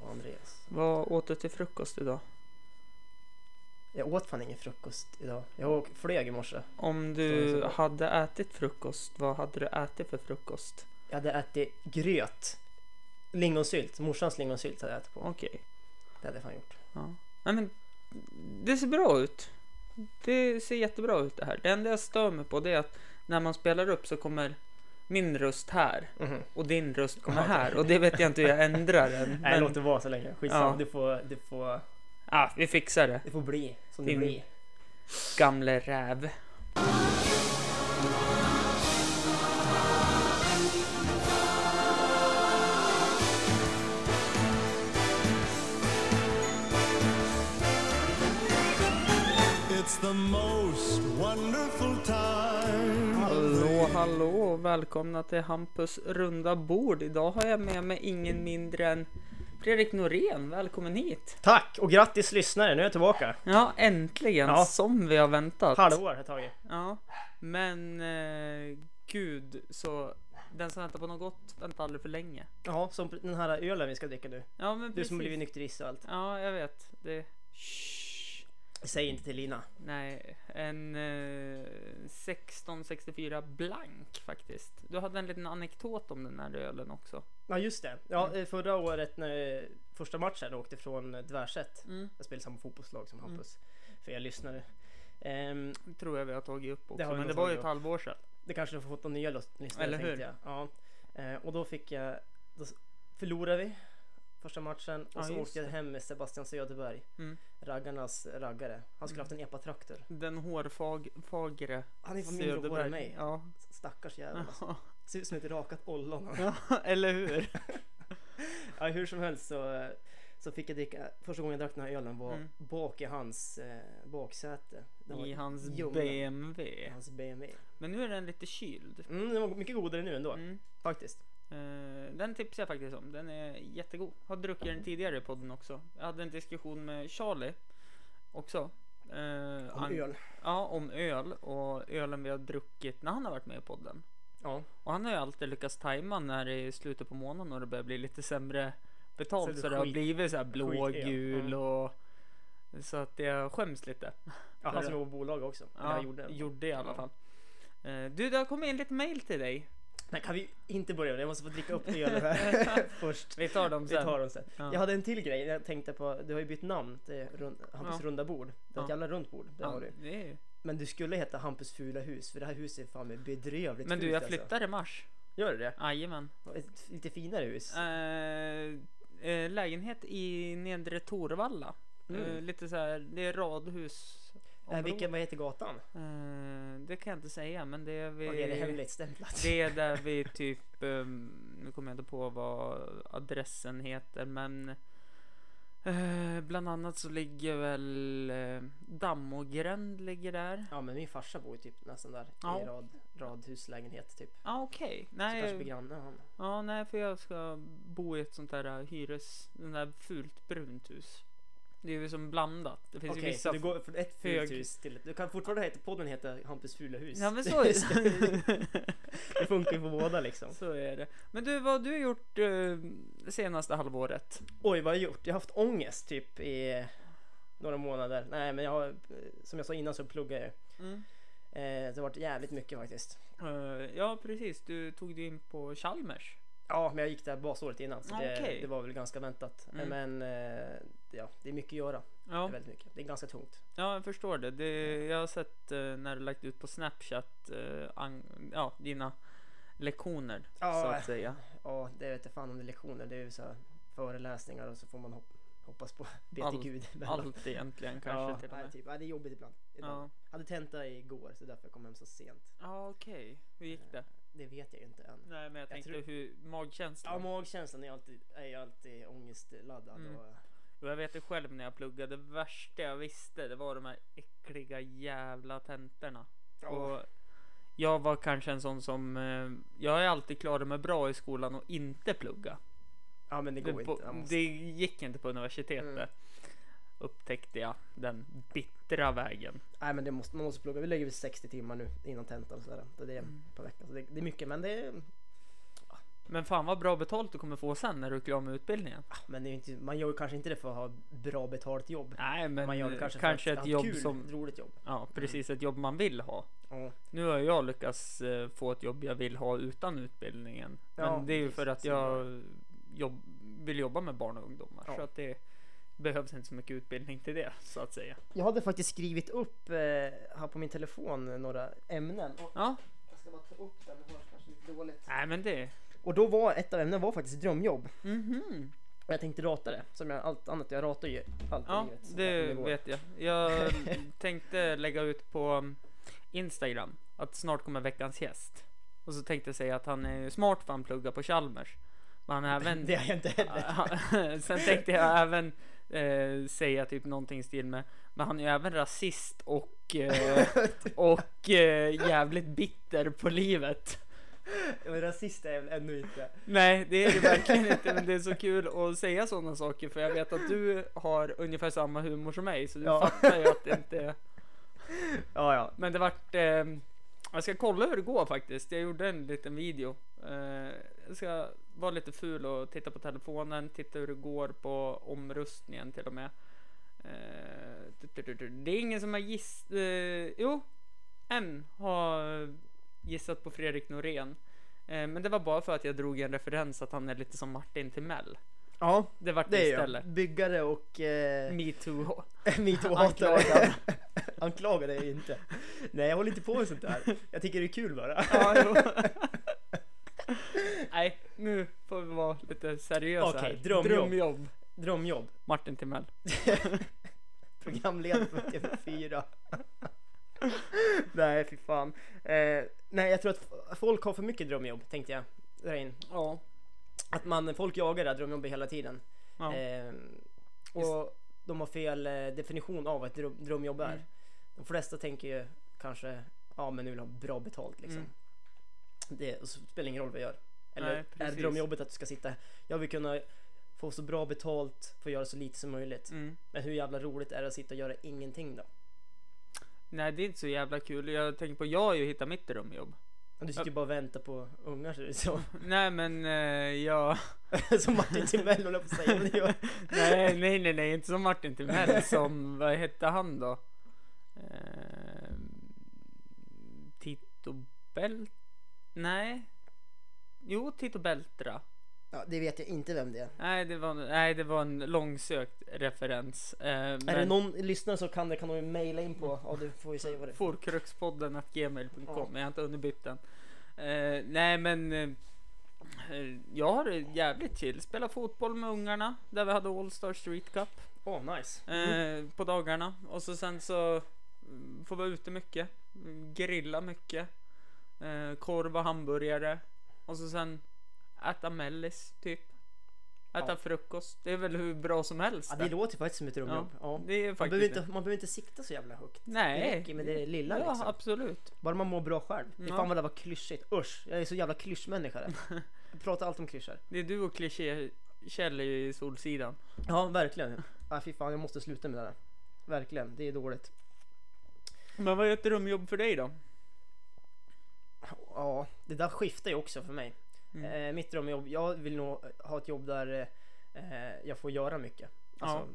och Andreas. Vad åt du till frukost idag? Jag åt fan ingen frukost idag. Jag åk- flög i morse. Om Står du det så? hade ätit frukost, vad hade du ätit för frukost? Jag hade ätit gröt. Lingonsylt. Morsans lingonsylt hade jag ätit på. Okej. Det hade jag fan gjort. Ja. Nej men, det ser bra ut. Det ser jättebra ut det här. Det enda jag stör mig på det är att när man spelar upp så kommer min röst här Mhm. och din röst kommer Ja, okej. här och det vet jag inte hur jag ändrar den. Nej, låt Men, det vara så länge. Skitsamma. Ja. Det, får, det, får, ah, vi fixar det. det får bli som det Din- blir. Gamle räv. It's the most wonderful time. Hallå, hallå och välkomna till Hampus runda bord. Idag har jag med mig ingen mindre än Fredrik Norén. Välkommen hit! Tack och grattis lyssnare. Nu är jag tillbaka. Ja, äntligen! Ja. Som vi har väntat. Halvår har jag tagit. Ja, men eh, gud så den som väntar på något gott väntar aldrig för länge. Ja, som den här ölen vi ska dricka nu. Ja, men Du precis. som blivit nykterist och allt. Ja, jag vet. Det... Shh. Säg inte till Lina. Nej, en eh, 1664 blank faktiskt. Du hade en liten anekdot om den här ölen också. Ja just det. Ja, Mm. eh, Förra året när första matchen åkte från eh, Dvärset. Mm. Jag spelade samma fotbollslag som Hampus. För jag lyssnade. Ehm, tror jag vi har tagit upp också. har vi men nog det var ju tagit ett upp. halvår sedan. det kanske du får fått några nya lys- lyssnare Eller tänkte hur? jag. Ja. Eh, och då fick jag, då s- förlorade vi första matchen och Ja, så just åkte jag hem med Sebastian Söderberg. Mm. Raggarnas raggare. Han skulle haft en epatraktor. Den hårfagre Han är fan mindre hår än mig. Ja. Stackars jävel. Ah. alltså. Ser ut som ett rakat ollon. ja, eller hur? Ja, hur som helst så, eh, så fick jag dricka, första gången jag drack den här ölen var Mm. bak i hans eh, baksäte. Den var I hans ljummen. I BMW. hans BMW. Men nu är den lite kyld. Mm, den var mycket godare nu ändå Mm. faktiskt. Eh, Den tipsar jag faktiskt om. Den är jättegod. Har druckit Mm. den tidigare i podden också. Jag hade en diskussion med Charlie också. Eh, Om ang- öl. Ja, om öl och ölen vi har druckit när han har varit med i podden. Ja. Och han har ju alltid lyckats tajma när det är slutet på månaden och det börjar bli lite sämre Så betalt. det Så, det har skit- blivit så här skitöl, blågul ja. och så att jag skäms lite. ja, Eller- han som jobbar på bolag också. Ja, Ja, jag gjorde det. gjorde i alla Ja. fall. Eh, Du, det har kommit in lite mail till dig. Nej, kan vi inte börja med det? Jag måste få dricka upp ölen här först. Vi tar dem Vi sen. tar dem sen. Ja. Jag hade en till grej. Jag tänkte på, du har ju bytt namn till rund, Hampus Ja. runda bord. Det är ett Ja. jävla runt bord. Det Ja, har du. det är ju- Men du skulle heta Hampus fula hus för det här huset är fan med bedrövligt Men du, fult, jag alltså. flyttar i mars. Gör du det? Jajamän. Ett lite finare hus? Äh, Eh, eh, lägenhet i Nedre Torvalla. Mm. Eh, lite så här, det är radhus. Äh, vilken, vad heter gatan? Eh, det kan jag inte säga, men det är vid... Vad är det hemligt stämplat? Det är där vi typ, ehm, nu kommer jag inte på vad adressen heter men eh, Bland annat så ligger väl eh, Dammogränd ligger där. Ja men min farsa bor ju typ nästan där Ja. i rad, radhuslägenhet typ. Så Ja ah, okej. kanske blir Nej, granne han. ja, nej för jag ska bo i ett sånt där eh, hyres, den där fult brunt hus. Det är ju som blandat. Det finns Okej, ju vissa. så du går från ett hög- fult hus till ett... Du kan fortfarande heta podden heter Hampus fula hus. Ja men så är det. det. det funkar ju på båda liksom. så är det. Men du vad har du gjort eh, senaste halvåret? Oj vad jag gjort. Jag har haft ångest typ i några månader. Nej men jag har, som jag sa innan så pluggar jag ju. Mm. Eh, Det har varit jävligt mycket faktiskt. Eh, ja precis, du tog dig in på Chalmers. Ja men jag gick där basåret innan så det, Ah, Okej. det var väl ganska väntat. Mm. Men eh, ja, det är mycket att göra. Det Ja, är väldigt mycket. Det är ganska tungt. ja jag förstår det. det jag har sett eh, när du lagt ut på Snapchat eh, ang, ja, dina lektioner Ja. så att säga. Ja, det vet jag fan om det är lektioner. Det är ju så här föreläsningar och så får man hop- hoppas på be Allt- till gud. Allt egentligen kanske ja, till och nej, med. typ, ja, det är jobbigt ibland. ibland. Ja, Hade tenta igår så därför jag kom hem så sent. ja okej. Hur gick det? Det vet jag ju inte än. Nej men jag tänkte tror- hur magkänslan. Ja, magkänslan är alltid, är ju alltid ångestladdad. Mm. Och, Och jag vet det själv när jag pluggade. Det värsta jag visste det var de här äckliga jävla tentorna. ja, Och jag var kanske en sån som, eh, jag är alltid klarade mig bra i skolan och inte plugga. ja, men det Det, går på, inte. Jag måste, det gick inte på universitetet. Mm. Upptäckte jag den bittra vägen. nej, men det måste, man måste plugga. Vi lägger väl Mm. 60 timmar nu innan tentan. och Så där. Det är det på veckan. Så det, det är mycket, men det är... ja, Men fan vad bra betalt du kommer få sen när du är klar med utbildningen. Men det är ju inte, man gör ju kanske inte det för att ha bra betalt jobb. Nej men Ah, eh, man gör det kanske, kanske, för att ett ha jobb kul, Mm. som... roligt jobb. Ja precis, ett jobb man vill ha. Ja. Nu har jag lyckats eh, få ett jobb jag vill ha utan utbildningen. Ja, men det är ju precis. för att Så jag jobb, vill jobba med barn och ungdomar. Ja. Så att det behövs inte så mycket utbildning till det så att säga. Jag hade faktiskt skrivit upp eh, här på min telefon eh, några ämnen. Och Ja, jag ska bara ta upp den, det hörs kanske lite dåligt. nej men det. Och då var ett av ämnena var faktiskt drömjobb. Mhm. Och jag tänkte rata det, som jag, allt annat. Jag ratar ju allt i Ja, livet. som det går. vet jag. Jag tänkte lägga ut på um, Instagram att snart kommer veckans gäst. Och så tänkte jag säga att han är ju smart för han pluggar på Chalmers. Men han är även Det har jag inte heller. Sen tänkte jag även eh, säga typ någonting i stil med Men han är ju även rasist och, eh, och eh, jävligt bitter på livet Men rasist är jag väl ännu inte. Nej det är det verkligen inte men det är så kul att säga sådana saker för jag vet att du har ungefär samma humor som mig så du Ja. fattar ju att det inte Ja, ja. Men det vart eh, Jag ska kolla hur det går faktiskt Jag gjorde en liten video eh, Jag ska vara lite ful och titta på telefonen Titta hur det går på omröstningen till och med eh, du- du- du- du. Det är ingen som har gissat eh, Jo En har gissat på Fredrik Norén eh, Men det var bara för att jag drog en referens att han är lite som Martin Timell Ja, Det vart det det är istället jag. Byggare och eh, Metoo metoo-hatare. Anklagad. Anklaga dig inte. Nej, jag håller inte på med sånt där. Jag tycker det är kul bara. Ja, jo. Nej, nu får vi vara lite seriösa Okej, här. drömjobb. drömjobb. Drömjobb. Martin Timell. Programledare på TV4. nej, fy fan. Eh, nej, jag tror att f- folk har för mycket drömjobb, tänkte jag. Där in. Ja. Att man, folk jagar det här drömjobbet hela tiden. ja. Eh, och de har fel eh, definition av vad ett dröm, drömjobb är. Mm. De flesta tänker ju kanske, ja men nu vill jag ha bra betalt liksom. Mm. Det och så spelar ingen roll vad jag gör. Nej, Eller är precis. drömjobbet att du ska sitta, jag vill kunna få så bra betalt för att göra så lite som möjligt. Mm. Men hur jävla roligt är det att sitta och göra ingenting då? Nej, det är inte så jävla kul. Jag tänker på, jag har ju hittat mitt drömjobb. Och Du sitter ju bara och väntar på ungar ser det ut som. Nej, men eh, jag... Som Martin Timell håller på att säga. Men det gör- Nej, nej, nej, nej, inte som Martin Timell. Som, vad hette han då? Eh, Tito Belt... Nej. Jo, Tito Beltra. Ja, det vet jag inte vem det är. Nej det, var, nej, det var en långsökt referens. Eh, Är det någon lyssnare som kan det kan de ju mejla in på. Ja, du får ju säga vad det är. Forkruxpodden att gmail.com, Ja. jag har inte hunnit bytt den. Eh, nej men eh, eh, jag har det jävligt chill. Spelar fotboll med ungarna där vi hade All Star Street Cup Åh, nice. eh, Mm. på dagarna. Och så sen så mm, får vara ute mycket, mm, grilla mycket, eh, korv och hamburgare. Och så sen äta mellis typ. Äta Ja. frukost. Det är väl hur bra som helst. Ja, det låter faktiskt som ett drömjobb. Ja. Det är Man, faktiskt behöver inte, det. man behöver inte sikta så jävla högt. Det Nej. räcker med det lilla Ja, liksom. absolut. Bara man mår bra själv. Det är Ja. fan vad det var klyschigt. Usch, jag är så jävla klyschmänniska. där. Jag pratar allt om klyschor. Det är du och kliché Kjell i Solsidan. Ja, verkligen. Ah, fy fan, jag måste sluta med det där. Verkligen, det är dåligt. Men vad är ett drömjobb för dig då? Ja, det där skiftar ju också för mig. Mm. Eh, mitt drömjobb, jag vill nog ha ett jobb där eh, jag får göra mycket. Alltså,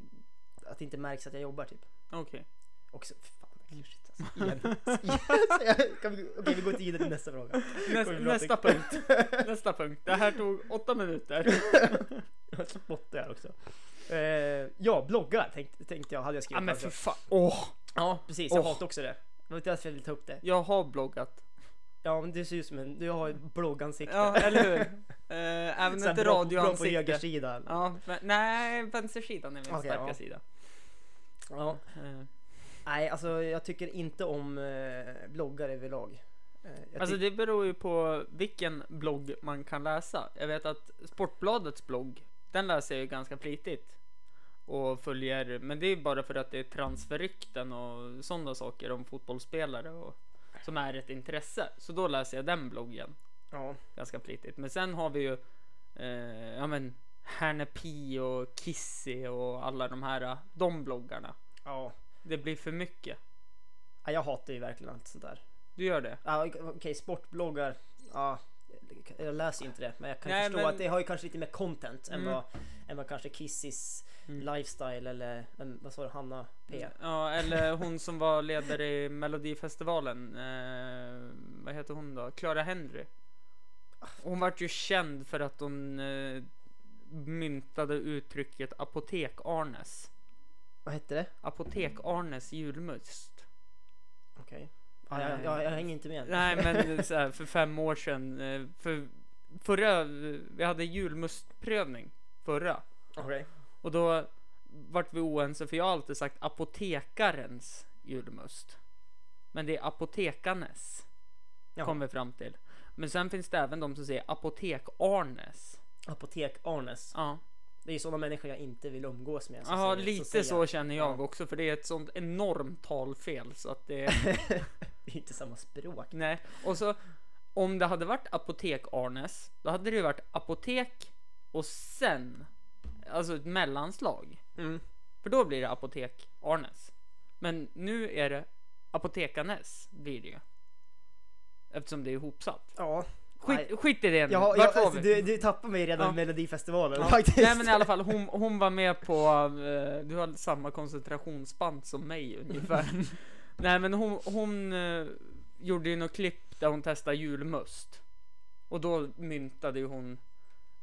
att det inte märks att jag jobbar typ. Okej. Och så, fan vad klyschigt alltså. Igen. Igen. Kan vi- Okej, vi går till till nästa fråga. Näs, Kommer vi nästa prata- punkt. Nästa punkt. Det här tog åtta minuter. Jag spottar här också. Eh, ja, bloggar tänkte, tänkte jag, hade jag Ja skrivit. men alltså. för fan. Åh. Ja, precis. Jag Åh. hatar också det. Det var därför jag ville ta upp det. Jag har bloggat. Ja, men du ser ut som en... Du har ju bloggansikte. Ja, eller hur? Eh, även Så här bra- ett Bra på radioansikte. högersidan. Ja. Ja, men, nej, vänstersidan är min Okej, starka ja. sida. ja. Eh, Nej, alltså jag tycker inte om eh, bloggar överlag. Eh, jag Alltså tyck- det beror ju på vilken blogg man kan läsa. Jag vet att Sportbladets blogg, den läser jag ju ganska flitigt. Och följer, men det är ju bara för att det är transferrykten och sådana saker om fotbollsspelare och, som är ett intresse. Så då läser jag den bloggen ja. ganska flitigt. Men sen har vi ju, eh, ja men Herne P och Kissy och alla de här, de bloggarna. ja. Det blir för mycket. Ja, jag hatar ju verkligen allt sånt där. Du gör det? Ja, Okej, sportbloggar. Ja, jag läser inte det men jag kan ju Nej, förstå men- att det har ju kanske lite mer content än, Mm. vad, än vad kanske Kissis lifestyle eller vem, vad sa du Hanna P? Ja, eller hon som var ledare i Melodifestivalen. Eh, vad heter hon då? Clara Henry. Hon vart ju känd för att hon eh, myntade uttrycket Apotek-Arnes. Vad hette det? Apotek-Arnes julmust. Mm. Eh, Okej. Ja, jag, jag, jag hänger inte med. Nej, men så här, för fem år sedan. eh, För förra, vi hade julmustprövning förra. Okej. Och då vart vi oense för jag har alltid sagt apotekarens julmust. Men det är apotekarnes. Jaha. Kom vi fram till. Men sen finns det även de som säger apotek-Arnes. Apotek-Arnes. Ja, Det är ju sådana människor jag inte vill umgås med. så liksom, Aha, säger- lite säger så känner jag också för det är ett sånt enormt talfel så att det... Det är inte samma språk. nej. Och så om det hade varit apotek-Arnes, då hade det ju varit apotek och sen, alltså ett mellanslag. Mm. För då blir det apotek Arnes. Men nu är det apotekarnes blir det ju. Eftersom det är ihopsatt. Ja. Skit, skit i det nu. Ja, Mm. Vart ja, var alltså, vi? du, du tappar mig redan Ja. i Melodifestivalen Ja. faktiskt. Nej men i alla fall hon, hon var med på, eh, du har samma koncentrationsspann som mig ungefär. Nej men hon, hon eh, gjorde ju något klipp där hon testade julmust. Och då myntade ju hon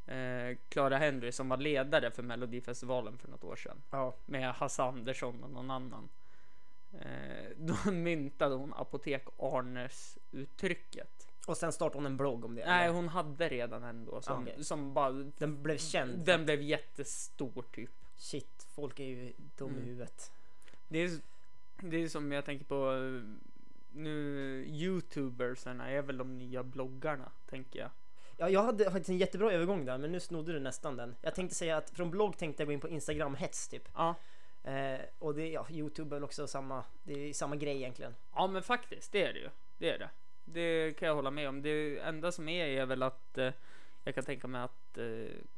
eh, Clara Henry som var ledare för Melodifestivalen för något år sedan Ja. med Hasse Andersson och någon annan. Eh, då myntade hon apotek Arnes uttrycket. Och sen startade hon en blogg om det. Nej, eller? hon hade redan en då som, Okej. som bara... Den blev känd. Ah, Den blev jättestor typ. Shit, folk är ju dum i Mm. huvudet. Det är, det är som jag tänker på eh, nu youtubersarna är väl de nya bloggarna tänker jag. Ja, jag hade faktiskt en jättebra övergång där, men nu snodde du nästan den. Jag tänkte säga att från blogg tänkte jag gå in på Instagram-hets typ. Ja, Eh, och det, ja, Youtube är väl också samma, det är samma grej egentligen. ja men faktiskt det är det ju. Det är det. Det kan jag hålla med om. Det enda som är är väl att eh, jag kan tänka mig att eh,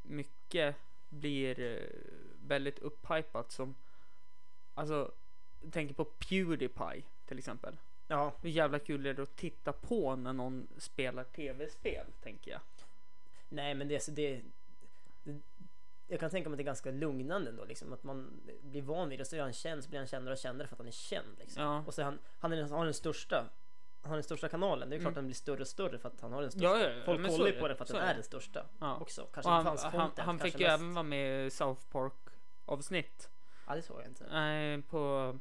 mycket blir eh, väldigt upphypat som alltså jag tänker på Pewdiepie till exempel. Ja, Hur jävla kul är det att titta på när någon spelar tv-spel tänker jag. nej men det, är så det, det jag kan tänka mig att det är ganska lugnande ändå liksom att man blir van vid det så är han känd så blir han kändare och kändare för att han är känd liksom. Ja. Och så är han, han är, den- har den största, han har den största kanalen. Det är klart att den blir större och större för att han har den största. Mm. Ja, ja, ja, Folk men så kollar är ju på det. den för att Så den är är det. den största Ja. också. Och Kanske han, inte hans han, content. han fick kanske ju mest- även vara med i South Park avsnitt. Ja, det såg jag inte. Nej, på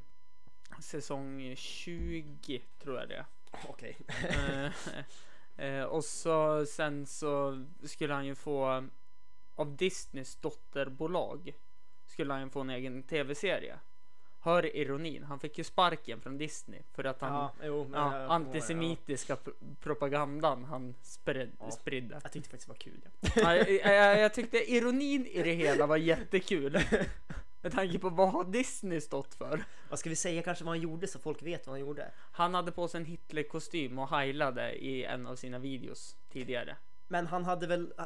säsong 20 tror jag det. Okej. Eh, eh, och så sen så skulle han ju få av Disneys dotterbolag skulle han ju få en egen tv-serie. Hör ironin, han fick ju sparken från Disney för att han Ja, jo, men Ja, jag- antisemitiska pro- propagandan han spred, spridde. Jag tyckte faktiskt det var kul. Ja. Ja, jag, jag, jag tyckte ironin i det hela var jättekul. Med tanke på vad har Disney stått för? Vad ska vi säga kanske vad han gjorde så folk vet vad han gjorde? Han hade på sig en Hitlerkostym och heilade i en av sina videos tidigare. Men han hade väl, äh,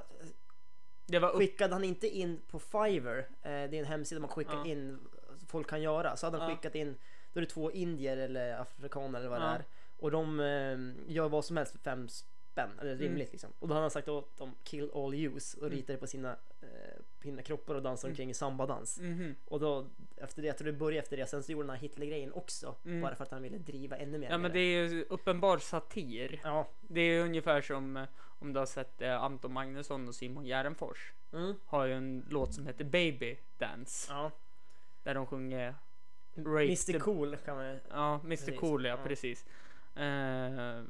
Det var upp... skickade han inte in på Fiverr, eh, det är en hemsida man skickar Ja. in, folk kan göra, så hade han Ja. skickat in, då är det två indier eller afrikaner eller vad det Ja. är. Och de eh, gör vad som helst för fem spänn, Mm. eller rimligt liksom. Och då hade han sagt åt dem kill all use och ritade på sina, eh, sina kroppar och Mm. dansade omkring i sambadans. Mhm. Och då, efter det, jag tror det började efter det, sen så gjorde han den här Hitler-grejen också. Bara för att han ville driva ännu mer Mm. Ja med men det är ju uppenbar satir. Ja. Det är ju ungefär som eh, om du har sett eh, Anton Magnusson och Simon Järnfors. Mm. Har ju en låt som heter Baby Dance. ja. Där de sjunger Rape the- Mr Cool kan man ju... Ja, Mr Precis. Cool ja, Ja. precis. Eh,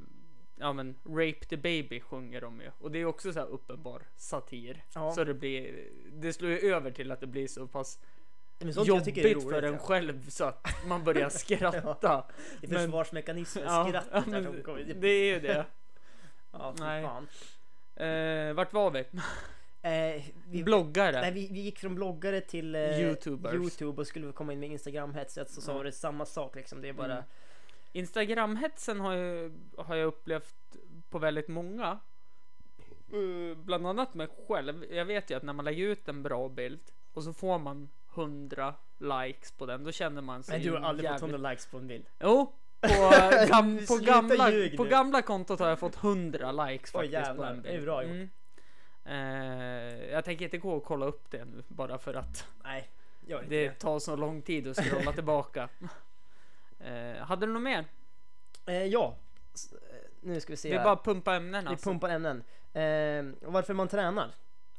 ja men Rape the Baby sjunger de ju och det är också så här uppenbar satir. Ja. Så det blir, det slår ju över till att det blir så pass Men sånt jag tycker jobbigt är roligt. för en ja. själv så att man börjar skratta. Det är Men- försvarsmekanismen, skrattet ja, där men som kommer. det är ju det. Ja, fy Nej. fan. Eh, vart var vi? Eh, vi, Bloggare. nej, vi, vi gick från bloggare till eh, Youtubers. Youtube och skulle komma in med Instagram-hetset så sa Ja. det samma sak liksom. Det är bara... Mm. Instagramhetsen har jag, har jag upplevt på väldigt många. Eh, Bland annat mig själv. Jag vet ju att när man lägger ut en bra bild och så får man 100 likes på den, då känner man sig Men du har aldrig jävligt- fått 100 likes på en bild. Jo, På, gam, på, Sluta gamla, ljug på nu. gamla kontot har jag fått 100 likes Oj, faktiskt på jävlar. en bild. Det är bra gjort. Mm. Eh, jag tänker inte gå och kolla upp det nu bara för att Nej, gör inte det det. tar så lång tid att scrolla tillbaka. Eh, hade du något mer? Eh, ja, S- eh, nu ska vi se Vi här. bara pumpa ämnen Vi alltså. pumpar ämnen. Eh, och varför man tränar.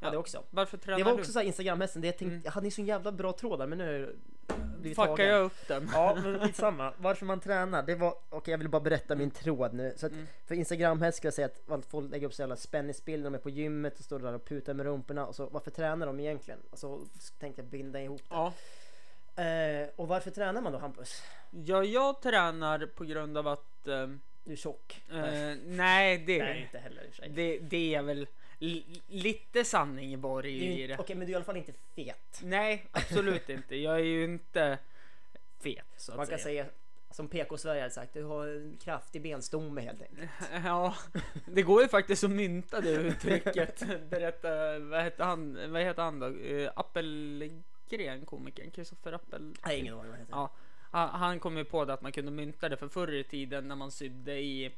Ja, Ja. det också. Varför tränar Det var du? också så här Instagram-hästen, det jag tänkte, Mm. jag hade ju så jävla bra tråd där men nu har jag blivit Fuckar tagen. jag upp den? Ja, men skitsamma. Varför man tränar, det var, okej jag vill bara berätta min tråd nu. Så att, Mm. För Instagram-häst skulle jag säga att allt folk lägger upp så jävla spänningsbilder, de är på gymmet och står där och putar med rumporna och så varför tränar de egentligen? Och så tänkte jag binda ihop det. Ja. Eh, och varför tränar man då Hampus? ja, jag tränar på grund av att... Eh, Du är tjock. Nej, eh, nej, det, det är inte heller i och för sig. det, det är väl li, lite sanning i borg Du är ju i inte- det. Okej men du är i alla fall inte fet. Nej, absolut inte. Jag är ju inte fet så att Man kan säga. säga som PK-Sverige hade sagt, du har en kraftig benstomme helt Mm. enkelt. Ja, det går ju faktiskt att mynta det uttrycket. Berätta, vad hette han, vad heter han då? Eh, Appelgren, komikern, Kristoffer Appel... Nej ingen aning vad det heter. Ja, han- han kom ju på det att man kunde mynta det för förr i tiden när man sydde i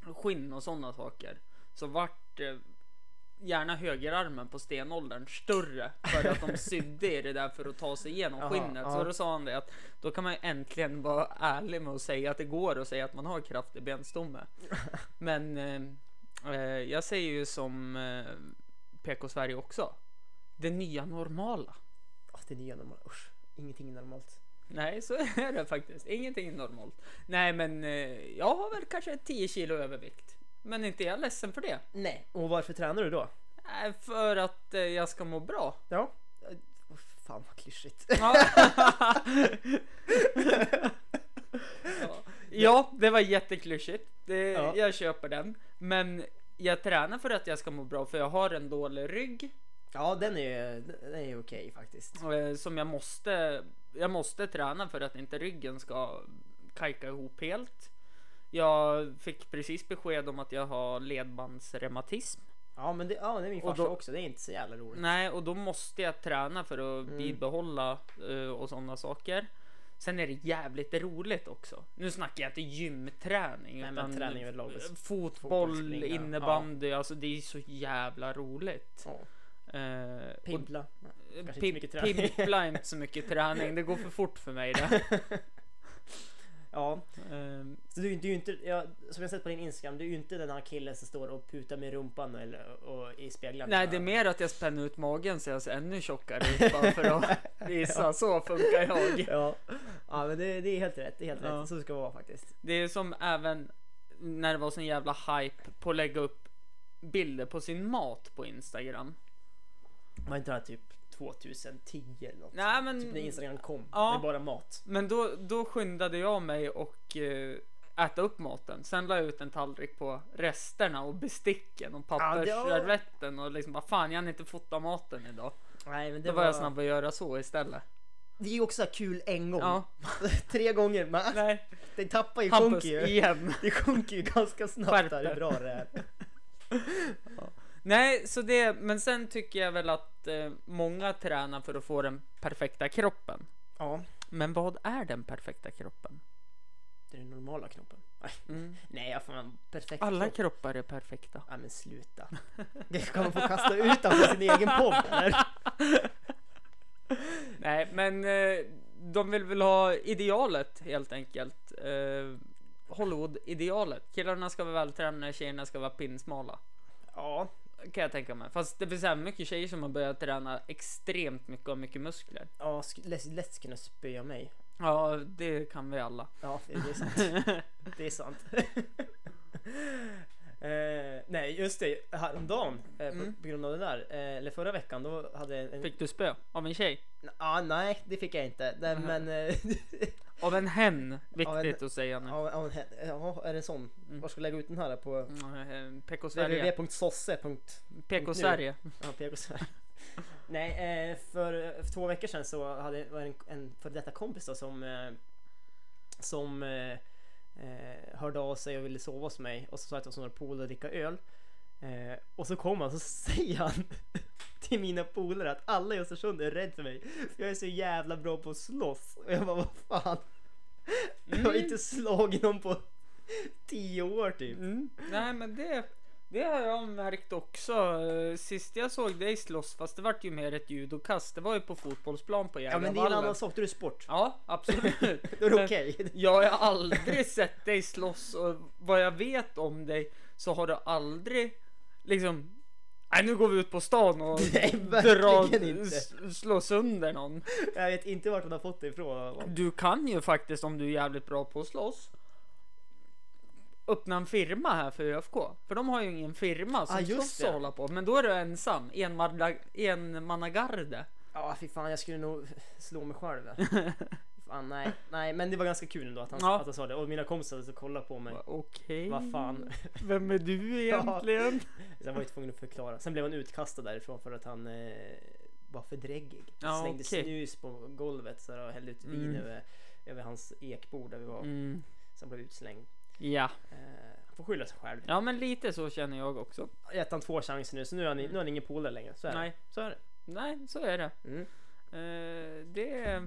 skinn och sådana saker så vart eh, gärna högerarmen på stenåldern större för att de sydde i det där för att ta sig igenom Jaha, skinnet. Så ja. då sa han det att då kan man ju äntligen vara ärlig med att säga att det går och säga att man har kraftig benstomme. Men eh, eh, jag säger ju som eh, PK Sverige också. Det nya normala. Ah, det är nya normalt, usch. Ingenting är normalt. Nej, så är det faktiskt. Ingenting är normalt. Nej, men eh, jag har väl kanske 10 kilo övervikt. Men inte är jag ledsen för det. Nej, och varför tränar du då? Nej, för att eh, jag ska må bra. Ja. eh, oh, Fan vad klyschigt. Ja. Ja. ja, det var jätteklyschigt. Det, Ja. Jag köper den. Men jag tränar för att jag ska må bra, för jag har en dålig rygg Ja, den är, den är okej faktiskt. eh, som jag måste. Jag måste träna för att inte ryggen ska kajka ihop helt. Jag fick precis besked om att jag har ledbandsreumatism. Ja, men det, ja, det är min Och farsa då- Mm. också. Det är inte så jävla roligt. Nej, och då måste jag träna för Mm. att bibehålla eh, och sådana saker. Sen är det jävligt roligt också. Nu snackar jag inte gymträning. Nej, men utan träning överlag. eh, Fotboll, Fotbollsspringa. innebandy, alltså det är så jävla roligt. Ja. Eh, och- Pimpla. Kanske inte så mycket Pimp- träning. Pimpla är inte så mycket träning, det går för fort för mig det. Ja, Ehm, så du, du är ju inte, ja, som jag sett på din Instagram, du är ju inte den här killen som står och putar med rumpan eller, och i speglarna. Nej, det är mer att jag spänner ut magen så jag ser ännu tjockare ut bara för att visa. Så funkar jag. Ja, ja men det, det är helt rätt. Det är helt Ja. rätt. Så ska det vara faktiskt. Det är som även när det var sån jävla hype på att lägga upp bilder på sin mat på Instagram. Man inte det här typ 2010 eller något. Nej, men, Typ när Instagram kom. Ja. Det är bara mat. men då, då skyndade jag mig och eh, äta upp maten. Sen la jag ut en tallrik på resterna och besticken och var- pappersservetten och liksom bara fan jag hann inte fota maten idag. Nej, men det Då var jag snabb att göra så istället. Det är ju också så här kul en gång. Ja, Tre gånger. Man, nej. det tappar ju, Hampus sjunker ju. igen. Det sjunker ju ganska snabbt Skärp där dig. hur bra det är. Nej, så det, men sen tycker jag väl att eh, många tränar för att få den perfekta kroppen. Ja, Men vad är den perfekta kroppen? det är den normala knoppen. Nej, Mm. Nej, jag får en perfekt Alla knopp. kroppar är perfekta. Nej men sluta. Det kan man få kasta ut honom från sin egen podd eller? Nej, men eh, de vill väl ha idealet helt enkelt. Eh, Hollywood-idealet. Killarna ska vara vältränade, tjejerna ska vara pinsmala. Ja, Kan jag tänka mig. Fast det finns även mycket tjejer som har börjat träna extremt mycket och mycket muskler. ja sk- lätt, lätt skulle kunna spöa mig. Ja, det kan vi alla. Ja, det det är sant. Det är sant. Eh, nej, just det. Häromdagen, eh, på, Mm. på grund av det där, eh, eller förra veckan, då hade jag en... Fick du spö av en tjej? Ah, nej, det fick jag inte. Nej, Mhm. men... eh, Av en hen, Av viktigt en- att säga nu. ja, ja, he- ja, är det sån? Var ska jag lägga ut den här då? På Mm, eh, PK Sverige. www.sosse. PK Sverige. Ja, PK Nej, eh, för, för två veckor sedan så hade var det en, en före detta kompis då som, eh, som eh, eh, hörde av sig och ville sova hos mig och så sa jag att jag skulle några polare och dricka öl. Eh, och så kom han så säger han till mina polare att alla i Östersund är rädda för mig för jag är så jävla bra på att slåss. Och jag bara vad fan. Jag har inte slagit någon på tio år typ. Mm. Nej men det, det har jag märkt också. Eh, Sist jag såg dig slåss, fast det vart ju mer ett judokast, det var ju på fotbollsplan på Ja men det är en Järvavallen. annan sak, då är det sport. Ja, absolut. Då är det okej. Jag har aldrig sett dig slåss och vad jag vet om dig så har du aldrig liksom Nej nu går vi ut på stan och Nej, drar, verkligen inte. s- slår sönder någon. Jag vet inte vart hon har fått det ifrån. Du kan ju faktiskt om du är jävligt bra på att slåss öppna en firma här för ÖFK. För de har ju ingen firma som Ah, just slåss det. och hålla på. Men då är du ensam, enmanna- enmannagarde. Ja fy fan jag skulle nog slå mig själv. Fan, nej, nej men det var ganska kul ändå att han, Ja. att han sa det och mina kompisar så kollade på mig. Va- Okej, Vad fan. vem är du egentligen? Sen var jag tvungen att förklara. Sen blev han utkastad därifrån för att han eh, var för dräggig. Ja, Slängde okej. snus på golvet så här, och hällde ut vin Mm. över, över hans ekbord där vi var. Mm, Så han blev utslängd. ja. Eh, han får skylla sig själv. ja, men lite så känner jag också. Gett han två chanser nu så nu är han, nu är han ingen polare längre. Så är, det. Nej. så är det. Nej, så är det. Mm. Eh, det.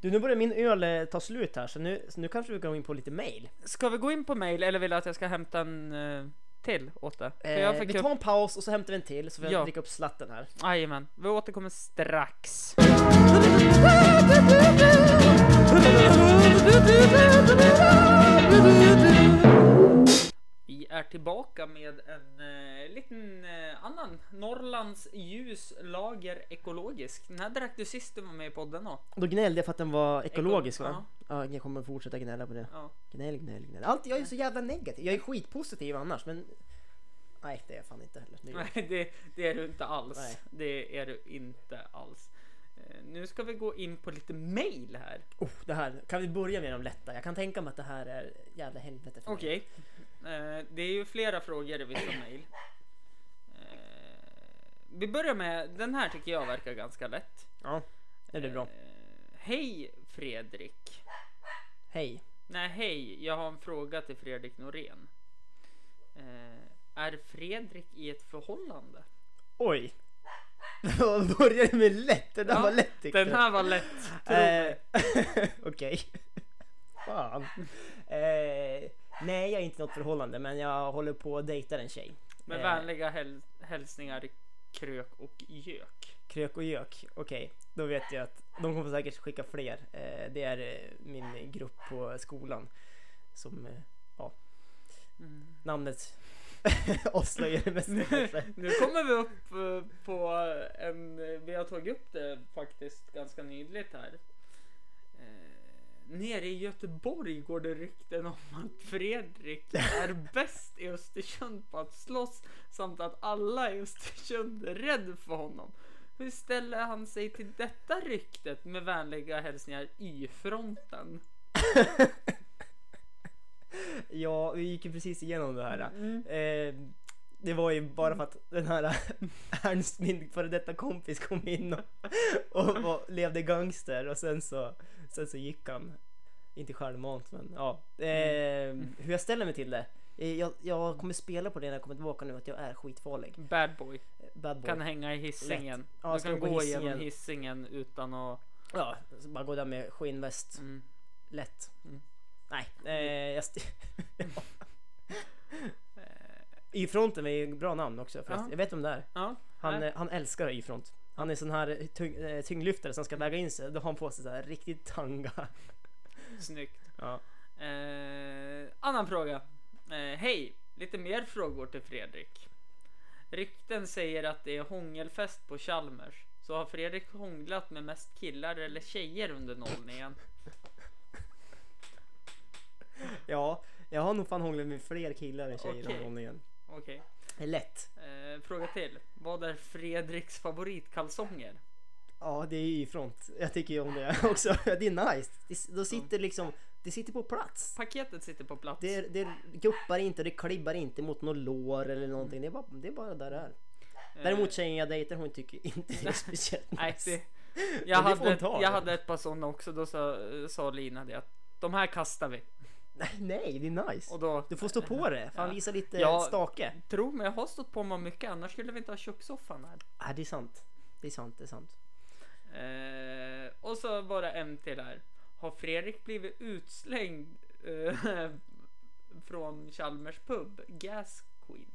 Du nu börjar min öl eh, ta slut här så nu, så nu kanske vi kan gå in på lite mail. Ska vi gå in på mail eller vill du att jag ska hämta en eh, till åt dig? För jag Eh, fick vi upp- tar en paus och så hämtar vi en till så vi Ja. dricker upp slatten här. Jajamän, vi återkommer strax. Vi är tillbaka med en eh, liten eh, annan Norrlands ljuslager ekologisk. Den här drack du sist du var med i podden då. Då gnällde jag för att den var ekologisk Eko- va? Ja, jag kommer fortsätta gnälla på det. Ja. Gnäll, gnäll, gnäll. Allt, jag är så jävla negativ. Jag är skitpositiv annars men... Nej det är jag fan inte heller. Nu- Nej, det, det är du inte alls. Nej. Det är du inte alls. Eh, Nu ska vi gå in på lite mail här. Oh, det här, kan vi börja med de lätta? Jag kan tänka mig att det här är jävla helvete för mig. Okej. Eh, det är ju flera frågor i vissa mejl. Eh, vi börjar med, den här tycker jag verkar ganska lätt. Ja, det blir bra. Eh, hej Fredrik. Hej. Nej, hej. Jag har en fråga till Fredrik Norén. Eh, är Fredrik i ett förhållande? Oj. Jag började med lätt. Den där Ja, var lätt tyckte Den jag. här var lätt. tro Eh, mig. Okej. Fan. Eh, nej, jag är inte i något förhållande, men jag håller på att dejta en tjej. Med eh. vänliga häl- hälsningar Krök och Gök. Krök och gök. Okej, då vet jag att de kommer säkert skicka fler. Eh, det är eh, min grupp på skolan som eh, Mm. namnet avslöjar det mesta kanske. Nu kommer vi upp eh, på en, vi har tagit upp det faktiskt ganska nyligt här. Eh, Nere i Göteborg går det rykten om att Fredrik är bäst i Östersund på att slåss samt att alla i Östersund är rädd för honom. Hur ställer han sig till detta ryktet med vänliga hälsningar Y-fronten? Ja, vi gick ju precis igenom det här. Eh, det var ju bara för att den här Ernst, min före detta kompis, kom in och, och var, levde gangster och sen så, sen så gick han. Inte självmant men ja. Eh, Mm. hur jag ställer mig till det? Eh, Jag, jag kommer spela på det när jag kommer tillbaka nu att jag är skitfarlig. Bad boy. Bad boy. Kan hänga i hissingen. Ja, Du ska kan gå på gå Hisingen. igenom hissingen utan att... Ja, så bara gå där med skinnväst. Mm. Lätt. Mm. Nej, eh, jag... St- Y-fronten är ju ett bra namn också förresten. Ja. Jag vet vem det är. Ja. Han, Nej. eh, han älskar Y-front. Han är sån här tyng, eh, tyngdlyftare som ska väga in sig. Då har han på sig så här riktigt tanga. Snyggt. Ja. Eh, annan fråga. Eh, Hej! Lite mer frågor till Fredrik. Rykten säger att det är hångelfest på Chalmers. Så har Fredrik hånglat med mest killar eller tjejer under nollningen? ja, jag har nog fan hånglat med fler killar än tjejer Okej. okay. om igen. Okej. Det är lätt. Eh, fråga till. Vad är Fredriks favoritkalsonger? Ja, det är Y-front. Jag tycker ju om det också. det är nice. Det, s- då sitter liksom, det sitter på plats. Paketet sitter på plats. Det, det guppar inte, det klibbar inte mot något lår eller någonting. Det är bara, det är bara där det är. Däremot tjejen jag dejtar hon tycker inte det är speciellt Eh. Nej, nice. det, jag, Men det får hade hon ett, ta, jag eller? hade ett par sådana också, då sa, sa Lina det att de här kastar vi. Nej, nej, det är nice. Och då, Du får stå på det. Fan Ja. visa lite Ja. stake. tro mig, jag har stått på mig mycket, annars skulle vi inte ha kökssoffan här. Ja, Äh, det är sant. Det är sant, det är sant. Eh, och så bara en till här. Har Fredrik blivit utslängd eh, från Chalmers pub? Gas Queen.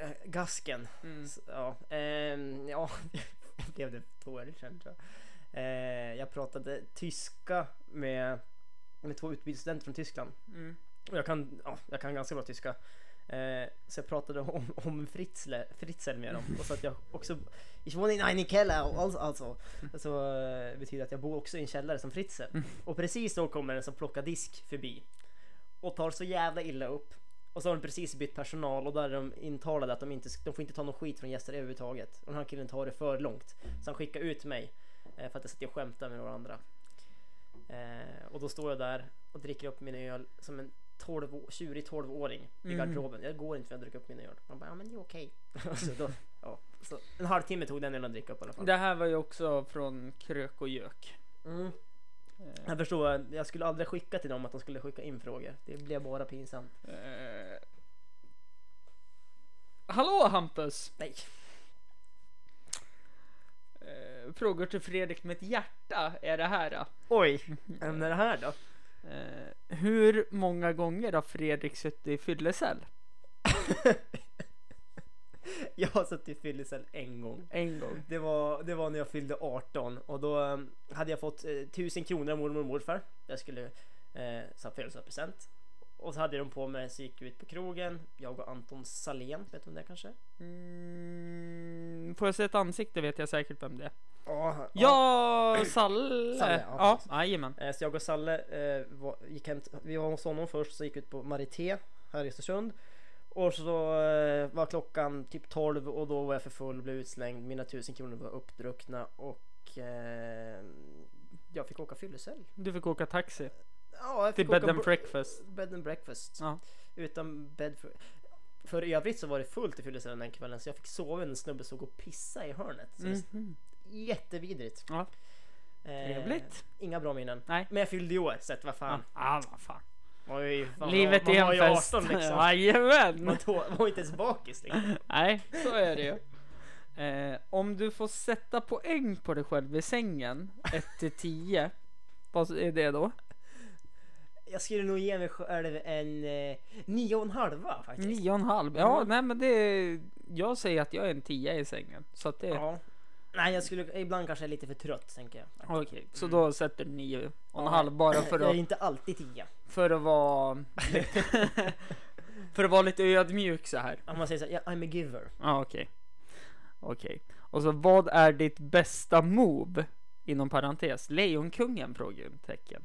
Eh, gasken. Mm. S- Ja, ehm, ja jag blev det tårig sen tror jag. Eh, jag pratade tyska med, med två utbytesstudenter från Tyskland. Mm. Och jag kan, ja, jag kan ganska bra tyska. Eh, så jag pratade om, om Fritzle, Fritzl med dem. Och så att jag också... Ich wohne in eine Keller also. alltså. Så eh, betyder att jag bor också i en källare som Fritzl. Och precis då kommer den som plockar disk förbi. Och tar så jävla illa upp. Och så har de precis bytt personal och där är de intalade att de inte de får inte ta någon skit från gäster överhuvudtaget. Och den här killen tar det för långt. Så han skickar ut mig. eh, För att jag satt och skämtade med några andra. Eh, och då står jag där och dricker upp min öl som en 12, å- tjurig 12-åring i Mm. garderoben. Jag går inte för jag dricker upp min öl. Man bara, ja men det är okej. så Alltså, då, ja. så en halvtimme tog den ölen att dricka upp i alla fall. Det här var ju också från Krök och Jök. Mm. Eh, Jag förstår, jag skulle aldrig skicka till dem att de skulle skicka in frågor. Det blev bara pinsamt. eh. Hallå Hampus! Nej. Eh, frågor till Fredrik med ett hjärta är det här. Då. Oj, Mm. ämne är det här då? Eh, hur många gånger har Fredrik suttit i fyllecell? Jag har suttit i fyllecell en gång. En gång. Det var, det var när jag fyllde 18 och då eh, hade jag fått eh, 1000 kronor av mormor och morfar. Jag skulle eh, så här födelsedagspresent. Och så hade de på mig så gick vi ut på krogen. Jag och Anton Salén, vet du om det är kanske? Mm, får jag se ett ansikte vet jag säkert vem det är. Ja! Ja, Salle. Salle, ja, ja, precis. jajamän. Eh, Så jag och Salle eh, var, gick hem, t- vi var hos honom först, så gick vi ut på Marité här i Östersund. Och så eh, var klockan typ 12 och då var jag för full, blev utslängd, mina tusen kronor var uppdruckna och eh, jag fick åka fyllecell. Du fick åka taxi Ja, jag till fick bed åka and bo- breakfast. bed and breakfast. Ja. Utan bed för... För i övrigt så var det fullt i fyllecellen den kvällen så jag fick sova när en snubbe såg och pissa i hörnet. Så det Mhm. är jättevidrigt. Ja. Eh, Trevligt. Inga bra minnen. Nej. Men jag fyllde i år så att vad fan. Ja, ah, vad fan. Man var ju, fan, Livet man, är man var en ju fest. 18 liksom. Man Jajamän. då- man var inte ens bakis liksom. Nej, så är det ju. Eh, om du får sätta poäng på dig själv i sängen, 1 till 10. Vad är det då? Jag skulle nog ge mig själv en eh, nio och en halva faktiskt. Mm. Nio och en halv. Ja, nej men det är, Jag säger att jag är en 10 i sängen. Så att det är... Ja. Nej, jag skulle ibland kanske är lite för trött tänker jag. Okej, så då sätter du nio och en halv bara för Mm. Jag är att, inte alltid tia. för att vara... för att vara lite ödmjuk så här. Om man säger så här, "Ja, I'm a giver. Ja, okej. Okej. Och så vad är ditt bästa move? Inom parentes, Lejonkungen? Frågetecken.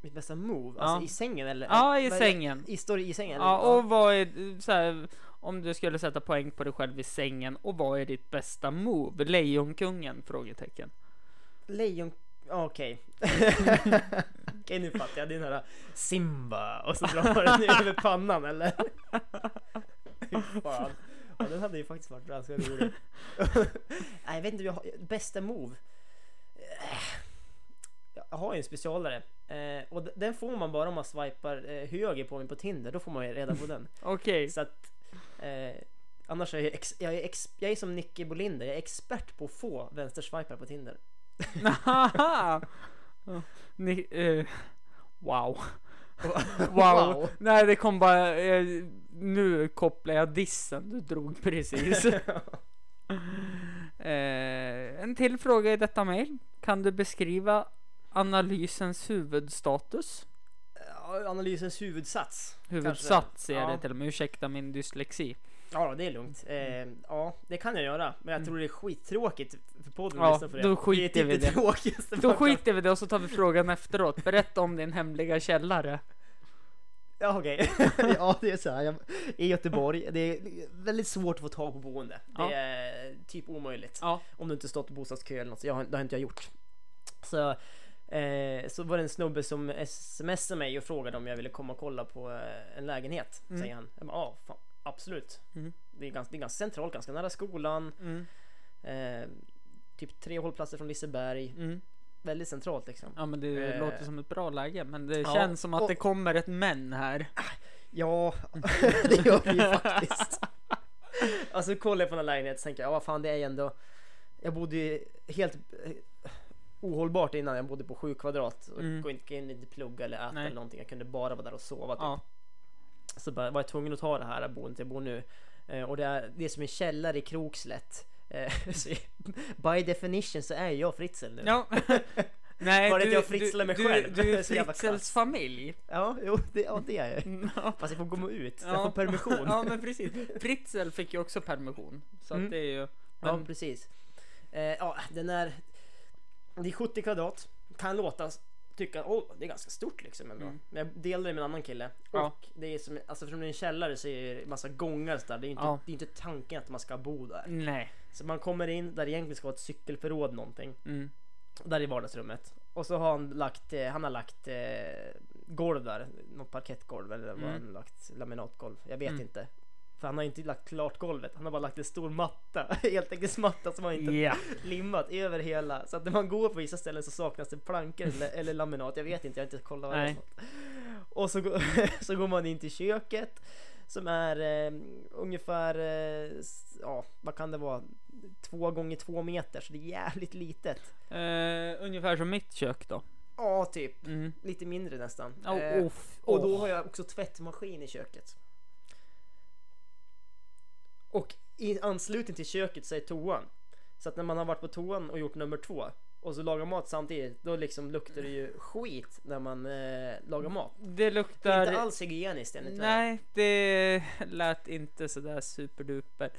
Mitt bästa move? Ja. Alltså i sängen eller? Ja, i Vad- sängen. I, står det i sängen? Ja, och vad är så här, om du skulle sätta poäng på dig själv i sängen och vad är ditt bästa move? Lejonkungen? Frågetecken. Lejon... ja, Okej. Okej, nu fattar jag. Det är den här Simba och så drar man den över pannan eller? Fy fan. Ja, den hade ju faktiskt varit ganska rolig. Nej, jag vet inte. Jag har, bästa move? Eh, Jag har ju en specialare. Eh, och d- den får man bara om man swipar eh, höger på mig på Tinder. Då får man ju reda på den. Okej. Så att, eh, annars är jag, ex, jag, är ex, jag är som Nicky Bolinder, jag är expert på att få vänsterswipar på Tinder. Haha! Ni, eh, wow. wow. Nej, det kom bara... Eh, nu kopplar jag dissen du drog precis. eh, en till fråga i detta mejl. Kan du beskriva analysens huvudstatus? Ja, eh, Analysens huvudsats. Huvudsats Kanske. är det Ja. till och med. Ursäkta min dyslexi. Ja, det är lugnt. Eh, ja, det kan jag göra. Men jag tror det är skittråkigt för podden Ja, att lyssna på det. då skiter det är typ vi i det. tråkigaste Då man kan- skiter vi i det och så tar vi frågan efteråt. Berätta om din hemliga källare. Ja, okej. ja, det är så här. Jag, I Göteborg, det är väldigt svårt att få tag på boende. Det Ja. är typ omöjligt. Ja. Om du inte stått i bostadskö eller något, så jag, har- det har inte jag gjort. Så, eh, så var det en snubbe som smsade mig och frågade om jag ville komma och kolla på eh, en lägenhet, Mm. säger han. Jag bara, ja, fan, absolut. Mm. Det, är ganska, det är ganska centralt, ganska nära skolan. Mm. Eh, typ tre hållplatser från Liseberg. Mm. Väldigt centralt liksom. Ja men det Eh. låter som ett bra läge men det Ja, känns som att och- det kommer ett men här. Ja, det gör det ju faktiskt. Alltså kollar jag på den här lägenheten och tänker jag, ja vad fan det är ju ändå. Jag bodde ju helt eh, ohållbart innan jag bodde på sju kvadrat och Mm. mm. inte, kunde inte plugga eller äta Nej. eller någonting. Jag kunde bara vara där och sova. Typ. Ja. Så bara, var jag tvungen att ta det här boendet jag bor nu. Eh, och det är, det är som en källare i Krokslätt. Eh, så jag- by definition så är jag Fritzl nu. ja. Nej, Var det du, att jag fritzlar du, mig du, själv? Du är Så jävla Fritzels kass. familj. ja jo, det, ja, det är jag ju. Ja. Fast jag får gå ut, så jag Ja. får permission. ja, men precis. Fritzl fick ju också permission. Så Mm. att det är ju... Ja, Men, precis. Eh, ja, den är... Det är 70 kvadrat. Kan låta tycka åh det är ganska stort liksom ändå. Mm. Men jag delar det med en annan kille. Ja. Och det är som, alltså eftersom det är en källare så är det massa gångar och så där. Det är, inte, Ja. det är inte tanken att man ska bo där. nej. Så man kommer in där det egentligen ska vara ett cykelförråd någonting. Mm. Där i vardagsrummet. Och så har han lagt, eh, han har lagt eh, golv där. Något parkettgolv eller vad Mm. han har lagt, laminatgolv. Jag vet Mm. inte. För han har inte lagt klart golvet. Han har bara lagt en stor matta. Helt enkelt matta som han inte Ja. limmat över hela. Så att när man går på vissa ställen så saknas det plankor eller, eller laminat. Jag vet inte, jag har inte kollat vad det är. Nej. för något. Och så, gå- så går man in till köket som är eh, ungefär, eh, s- ja vad kan det vara, två gånger två meter så det är jävligt litet. Eh, ungefär som mitt kök då. Ja, typ. Mm. Lite mindre nästan. Oh, Eh, oh, f- och då oh. har jag också tvättmaskin i köket. Och i anslutning till köket så är toan. Så att när man har varit på toan och gjort nummer två och så lagar mat samtidigt, då liksom luktar det ju skit när man eh, lagar mat. Det Det är luktar... inte alls hygieniskt enligt mig. Nej, det lät inte sådär superduper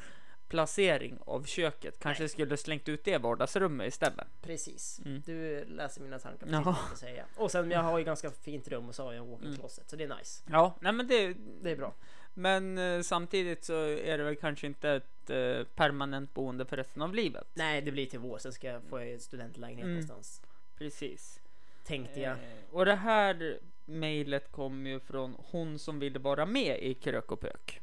placering av köket. Kanske skulle slängt ut det i vardagsrummet istället. Precis. Mm. Du läser mina tankar Jaha. precis vad jag ska säga. Och sen jag har ju ganska fint rum och så har jag en walk-in closet så det är nice. Ja, nej men det, Det är bra. Men eh, samtidigt så är det väl kanske inte ett eh, permanent boende för resten av livet. Nej, det blir till vår. Sen ska jag få en studentlägenhet Mm. någonstans. Precis. Tänkte jag. Eh, Och det här mejlet kom ju från hon som ville vara med i Krök och Pök.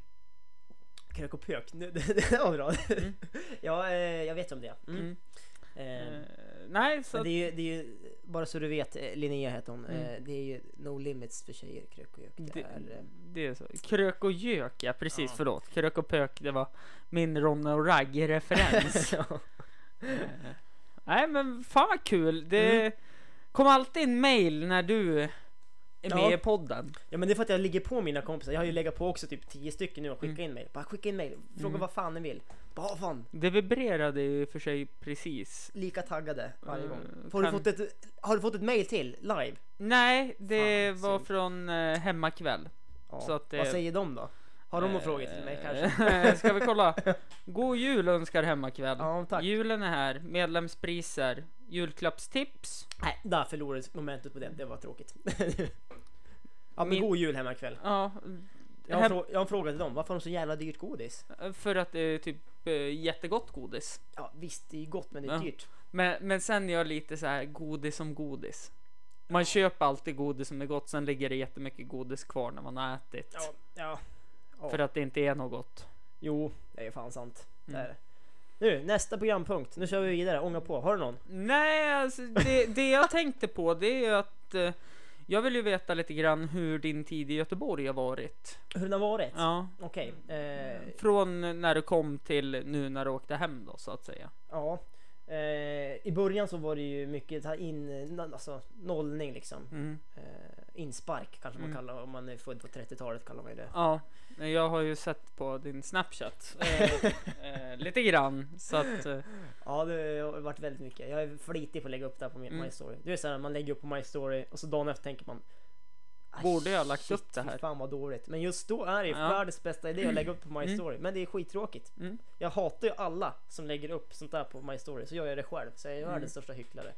Krök och pök. Nu, det, det var bra. Mm. ja, eh, jag vet om det. Mm. Mm. Eh, Eh, nej, så men att, det, är ju, det är ju, bara så du vet, eh, Linnea heter hon. Mm. Eh, det är ju No Limits för tjejer, krök och jök. Det Det- är, eh, det är så. Krök och Gök, ja precis, Ja. förlåt. Krök och Pök, det var min Ronny och Ragge-referens. ja. Eh, nej men fan vad kul. Det Mm. kom alltid en mail när du är med Ja. i podden. ja men det är för att jag ligger på mina kompisar. Jag har ju legat på också typ 10 stycken nu och skickat in mail. Bara skicka in mail, fråga Mm. vad fan ni vill. Bara "Ah, fan, Det vibrerade ju för sig precis. lika taggade varje Mm, gång. Har, kan- du fått ett, har du fått ett mail till live? Nej, det Fan, var synd. från eh, Hemmakväll. Ja. Så att det- Vad säger de då? Har de några frågor till mig kanske? Eh, Ska vi kolla? God jul önskar Hemmakväll. Ja, tack. Julen är här, medlemspriser, julklappstips. Nej, där förlorades momentet på det. Det var tråkigt. ja, men Min- god jul hemma ikväll. Ja, Jag har, en hem- frå- jag har en fråga till dem. Varför har de så jävla dyrt godis? för att det är typ eh, jättegott godis. Ja, visst, det är gott men det är Ja. dyrt. Men, men sen är jag lite så här godis som godis. Man köper alltid godis som är gott, sen ligger det jättemycket godis kvar när man har ätit. Ja, ja. För att det inte är något gott. Mm. Jo, det är ju fan sant. Det är det. Nu, nästa programpunkt. Nu kör vi vidare. Ånga på. Har du någon? Nej, alltså det, det jag tänkte på det är ju att eh, jag vill ju veta lite grann hur din tid i Göteborg har varit. Hur den har varit? Ja. Okej. Alltså, Eh, Från när du kom till nu när du åkte hem då så att säga. ja. Eh, I början så var det ju mycket ta in, alltså nollning liksom. Mm. Eh, inspark kanske man Mm. kallar om man är född på 30-talet kallar man ju det. Ja, jag har ju sett på din Snapchat eh, eh, lite grann så att eh, Ja det har varit väldigt mycket. Jag är flitig på att lägga upp det här på min Mm. My Story. Du är såhär, man lägger upp på My Story och så dagen efter tänker man "Ah, Borde jag ha lagt shit, upp det här?" fy fan vad dåligt. Men just då är det ju Ja. världens bästa idé att lägga upp på My Mm. Story. Men det är skittråkigt. Mm. Jag hatar ju alla som lägger upp sånt där på My Story. Så gör jag det själv. Så jag är världens största hycklare.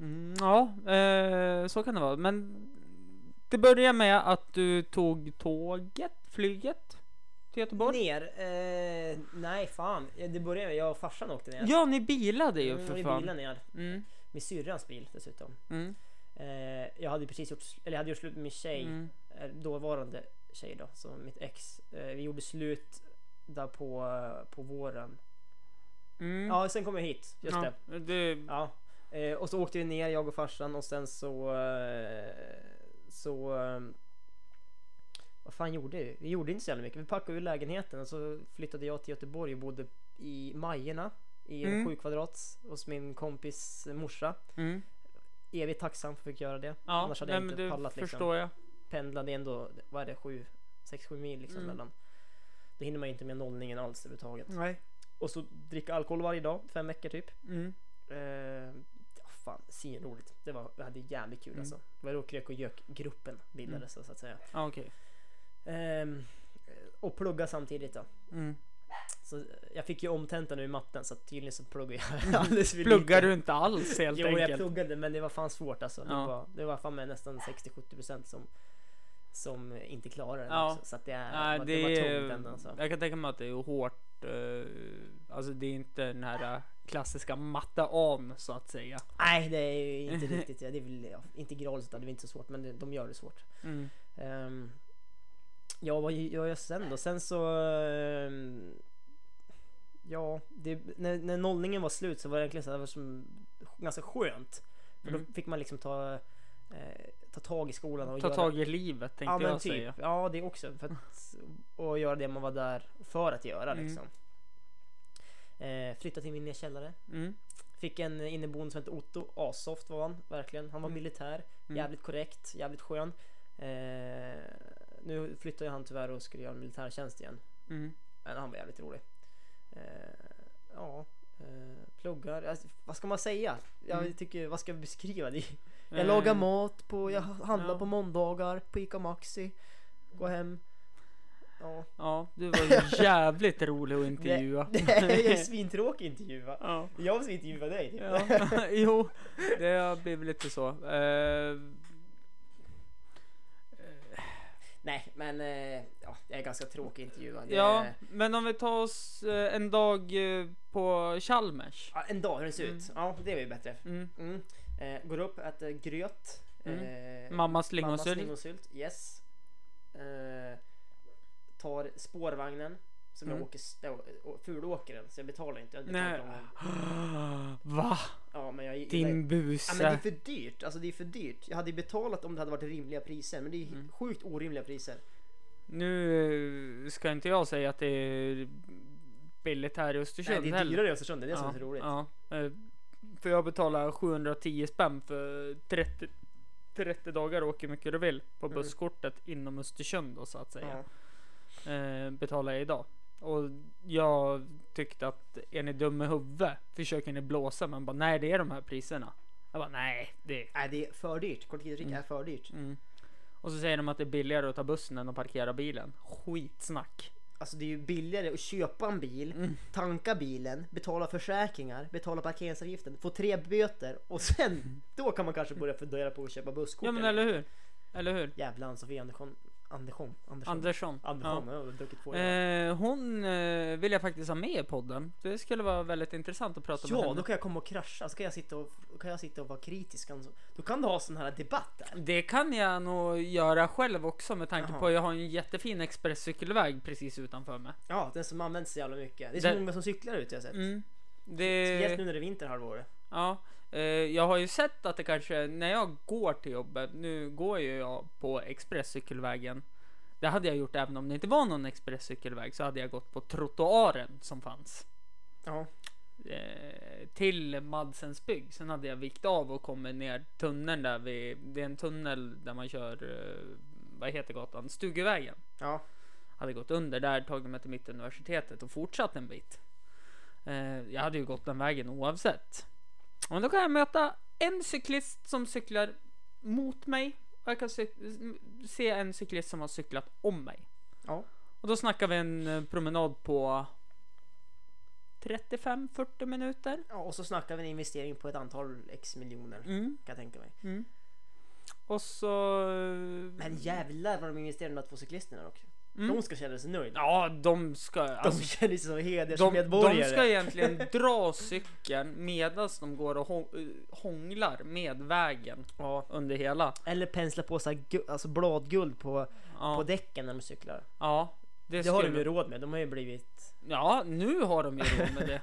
mm, ja, eh, så kan det vara. Men det började med att du tog tåget, flyget till Göteborg. Ner? Eh, nej fan. Det började med, jag och farsan åkte ner. Ja, ni bilade ju för Mm, i fan. bilen ner. Mm, Med syrrans bil dessutom. mm, Eh, jag hade ju precis gjort, eller jag hade gjort slut med min tjej. mm. eh, dåvarande tjej då, som mitt ex. Eh, vi gjorde slut där på, eh, på våren. Mm. Ja, sen kom jag hit. Just det. Ja, det- Ja. Eh, och så åkte vi ner, jag och farsan och sen så... Eh, så... Eh, vad fan gjorde vi? Vi gjorde inte så jävla mycket. Vi packade ur lägenheten och så flyttade jag till Göteborg och bodde i Majerna. i Mm. sju kvadrat hos min kompis morsa. Mm. Evigt tacksam för att jag fick göra det. Ja, Annars hade nej, jag men inte du pallat liksom. förstår jag. Pendlade ändå, vad är det, sju, sex, sju mil liksom Mm. mellan. Då hinner man ju inte med nollningen alls överhuvudtaget. Nej. Och så dricka alkohol varje dag, fem veckor typ. Mm. Eh, ja, fan, svinroligt. Det var, jag hade jävligt kul Mm. alltså. Det var då Krök och Gök-gruppen bildades så att säga. Ja, okej. Ehm, och plugga samtidigt då. Mm. Så eh, jag fick ju omtenta nu i matten så att tydligen så pluggar jag alldeles för Pluggar lite. du inte alls helt Jo, jag enkelt? pluggade men det var fan svårt alltså. Det, Ja. var, det var fan med nästan 60-70% som, som inte klarade det Ja. också. Så Äh, att det, är, det, Nej, var, Äh, det det var är, tungt ändå alltså. jag kan tänka mig att det är hårt. eh, Alltså det är inte den här eh, klassiska matte om så att säga. Nej, det är ju inte riktigt. Det är väl ja, integral så det är väl inte så svårt men det, de gör det svårt. Mm. Ehm, ja, vad gör jag sen då? Sen så... ehm, ja, det, när, när nollningen var slut så var det egentligen så här, det var som, ganska skönt. För Mm. då fick man liksom ta, eh, ta tag i skolan och Ta göra... tag i livet tänkte ja, men jag typ. säga. Ja, det också. För att, och göra det man var där för att göra Mm. liksom. Eh, flyttade till min nya källare. Mm. Fick en inneboende som hette Otto, assoft var han verkligen. Han var Mm. militär, Mm. jävligt korrekt, jävligt skön. Eh, nu flyttade han tyvärr och skulle göra militärtjänst igen. Mm. Men han var jävligt rolig. Eh, ja, eh, pluggar. Alltså, vad ska man säga? Jag Mm. tycker, vad ska jag beskriva det? Jag lagar Eh, mm, mat, på, jag handlar ja. på måndagar på Ica Maxi. Går hem. Ja. Eh, Ja, du var jävligt rolig att intervjua. Det, det är ju svintråkig intervju va? ja. Jag vill intervjua dig. typ. Ja, jo, det har blivit lite så. Eh, Nej, men eh, ja, jag är ganska tråkig intervjuad. Det- ja, men om vi tar oss eh, en dag eh, på Chalmers. Ja, en dag hur den ser ut. Mm. Ja, det är ju bättre. Mm. Mm. Eh, går upp, äter gröt. Eh, Mammas mammas Mm. lingonsylt. lingonsylt. Yes. Eh, tar spårvagnen. Som Mm. jag åker, s- jag å- fulåker den så jag betalar inte. Jag betalar Nej. inte om, Va? ja, men jag, Din Ja, men det är buse. för dyrt. Alltså det är för dyrt. Jag hade ju betalat om det hade varit rimliga priser. Men det är Mm. sjukt orimliga priser. Nu eh, ska inte jag säga att det är billigt här i Nej, Östersund det är heller. dyrare i Östersund. Det är det som är så roligt. Ja, eh, för jag betalar 710 spänn för 30, 30 dagar och åker hur mycket du vill på Mm. busskortet inom Östersund då så att säga. Ja. Eh, betalar jag idag. Och jag tyckte att är ni dum i huvudet? Försöker ni blåsa? Men bara nej det är de här priserna. Jag bara nej det är... Nej, det är för dyrt. Kollektivtrafik Mm. är för dyrt. Mm. Och så säger de att det är billigare att ta bussen än att parkera bilen. Skitsnack. Alltså det är ju billigare att köpa en bil, Mm. tanka bilen, betala försäkringar, betala parkeringsavgiften, få tre böter och sen då kan man kanske börja fundera på att köpa busskort. Mm. Ja men eller hur? Eller hur? Jävla Ann-Sofie Andersson. Andersson. Andersson. Andersson. Andersson. Ja. Jag har druckit på det. Eh, hon eh, vill jag faktiskt ha med i podden. Det skulle vara väldigt intressant att prata med Ja, henne. då kan jag komma och krascha. Så kan jag sitta och, kan jag sitta och vara kritisk. Alltså, Då kan du ha sån här debatt där. Det kan jag nog göra själv också med tanke Jaha. på att jag har en jättefin expresscykelväg precis utanför mig. Ja, den som används så jävla mycket. Det är så Det- många som cyklar ut jag har sett. Mm. Speciellt nu Det, när det är vinterhalvåret. ja, eh, jag har ju sett att det kanske, när jag går till jobbet, nu går ju jag på expresscykelvägen. Det hade jag gjort även om det inte var någon expresscykelväg så hade jag gått på trottoaren som fanns. Ja. eh, till Madsens bygg. Sen hade jag vikt av och kommit ner tunneln där vid, det är en tunnel där man kör, eh, vad heter gatan, Stugevägen. Ja. Hade gått under där, tagit mig till Mittuniversitetet och fortsatt en bit. Eh, jag hade ju gått den vägen oavsett. Men då kan jag möta en cyklist som cyklar mot mig och jag kan cyk- se en cyklist som har cyklat om mig. Ja. Och då snackar vi en eh, promenad på 35-40 minuter. ja. Och så snackar vi en investering på ett antal x miljoner. Mm, Kan jag tänka mig. mm. Och så... eh, Men jävlar vad de investerade i de här två cyklisterna dock. Mm. De ska känna sig nöjda. Ja, de ska... De Alltså, känner sig som de, hedersmedborgare. de ska egentligen dra cykeln medan de går och hå- eh, hånglar med vägen ja. under hela. Eller pensla på så här, gu- alltså bladguld på, på Ja, däcken när de cyklar. ja Det, har de ju råd med. De har ju blivit... Ja, nu har de ju råd med det.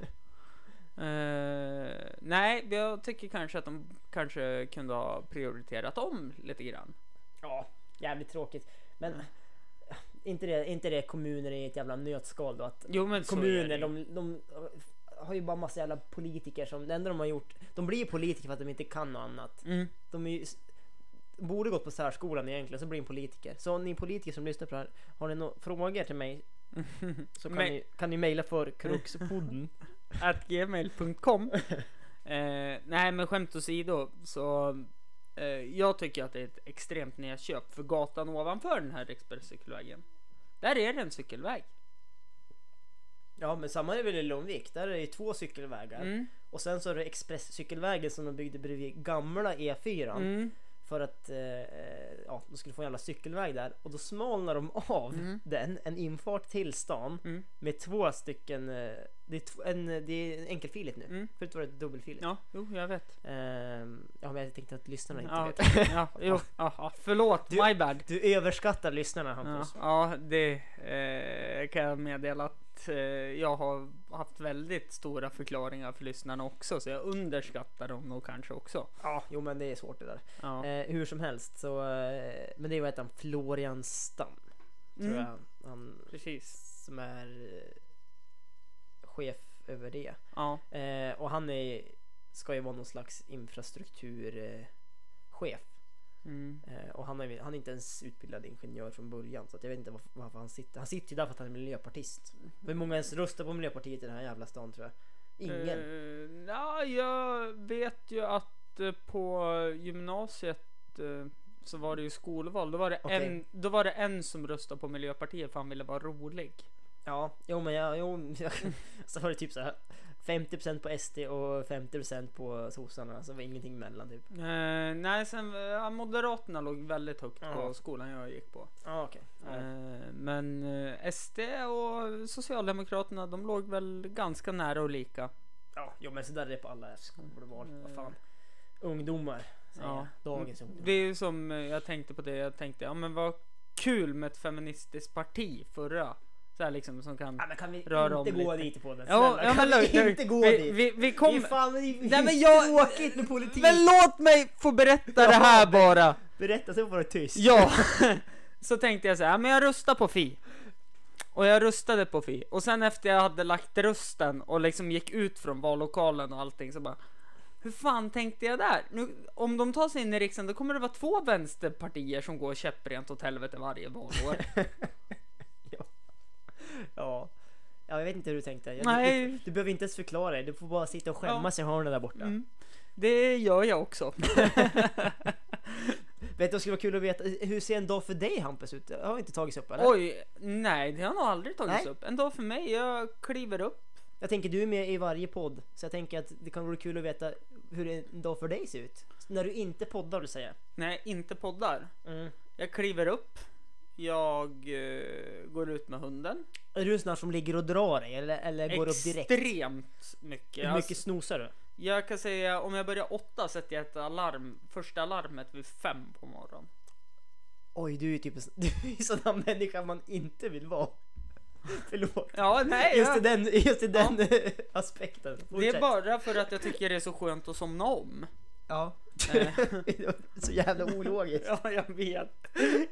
Eh, nej, jag tycker kanske att de kanske kunde ha prioriterat om lite grann. Ja, jävligt tråkigt. Men inte det, inte det kommuner i ett jävla nötskal då? Att Jo, men så är det kommuner, ju. de, de har ju bara massa jävla politiker som, det enda de har gjort, de blir ju politiker för att de inte kan något annat. Mm. De är ju, borde gått på särskolan egentligen, så blir de politiker. Så ni politiker som lyssnar på det här, har ni några frågor till mig så kan, Men- ni, kan ni mejla för kruxpodden. At gmail.com eh, Nej men skämt åsido så eh, jag tycker att det är ett extremt nedköp för gatan ovanför den här expresscykelvägen. Där är det en cykelväg. ja men samma är väl i Lundvik, där är det ju två cykelvägar. Mm. Och sen så är det expresscykelvägen som de byggde bredvid gamla E E4. Mm. För att eh, eh, ja, de skulle få en jävla cykelväg där och då smalnar de av Mm. den, en infart till stan Mm. med två stycken, eh, det är, tv- en, det är enkelfiligt nu. Mm. Förut var det dubbelfiligt. Ja, jo jag vet. Ehm, ja men jag tänkte att lyssnarna inte Ja, vet. ja, jo, ja, ja, förlåt, Du- my bad. Du överskattar lyssnarna Ja, Hampus. ja, det eh, kan jag meddela att eh, jag har haft väldigt stora förklaringar för lyssnarna också, så jag underskattar dem nog kanske också. Ja, jo men det är svårt det där. Ja. Eh, hur som helst så, eh, men det var ett han Florian Stam. Tror Mm. jag. Han Precis. som är eh, chef över det. Ja. Eh, och han är, ska ju vara någon slags infrastrukturchef. Eh, chef. Mm. eh, och han är, väl- han är inte ens utbildad ingenjör från början. Så att jag vet inte varför, varför han sitter. Han sitter ju där för att han är miljöpartist. Hur många ens röstar på Miljöpartiet i den här jävla stan tror jag? Ingen. Eh, ja, jag vet ju att eh, på gymnasiet eh, så var det ju skolval. Då var det, Okej. en, då var det en som röstade på Miljöpartiet för han ville vara rolig. Ja, jo men jag, jo, jag, så var det typ så här 50% på SD och 50% på sossarna. Så var ingenting mellan typ. Eh, nej, sen ja, Moderaterna låg väldigt högt på Ja. skolan jag gick på. Ah, okej. Ja. Eh, men eh, SD och Socialdemokraterna, de låg väl ganska nära och lika. ja, jo men så där är det på alla skolval. Vad fan. Ungdomar. Säger Ja. jag. Dagens ungdomar. Det är ju som eh, jag tänkte på det. Jag tänkte, ja men vad kul med ett feministiskt parti förra. Så här liksom som kan. Ja, men kan vi Rör om inte gå lite. dit på den? Ja, Snälla, ja, men kan lugn, vi lugn. inte gå vi, dit? vi, vi det är kommer. fan det är Nej, men jag- tråkigt med politik! Men låt mig få berätta det här bara. Berätta så får du tyst. Ja, så tänkte jag så här, ja, men jag röstar på Fi. Och jag röstade på Fi. Och sen efter jag hade lagt rösten och liksom gick ut från vallokalen och allting så bara. Hur fan tänkte jag där? Nu, om de tar sig in i riksdagen då kommer det vara två vänsterpartier som går käpprent åt helvete varje valår. Ja. ja, jag vet inte hur du tänkte. Jag, Nej. Du, du behöver inte ens förklara dig, du får bara sitta och skämmas i hörnet där borta. Mm. Det gör jag också. Vet du vad skulle vara kul att veta? Hur ser en dag för dig Hampus ut? Det har inte tagits upp eller? Oj, nej det har nog aldrig tagits Nej. upp. En dag för mig, jag kliver upp. Jag tänker du är med i varje podd, så jag tänker att det kan vara kul att veta hur en dag för dig ser ut. När du inte poddar vill säga. När jag inte poddar. Mm. Jag kliver upp. Jag eh, går ut med hunden. Är du en sån här som ligger och drar dig eller, eller går upp direkt? Extremt mycket. Hur Alltså, mycket snosar du? jag kan säga om jag börjar åtta sätter jag ett alarm, första alarmet vid fem på morgonen. Oj, du är typ en sån- du är en sån här människa man inte vill vara. Förlåt. Ja, nej. Just i jag, den, just i den aspekten. det är Fortsätt. bara för att jag tycker det är så skönt att somna om. Ja. Eh, Så jävla ologiskt. ja, jag vet.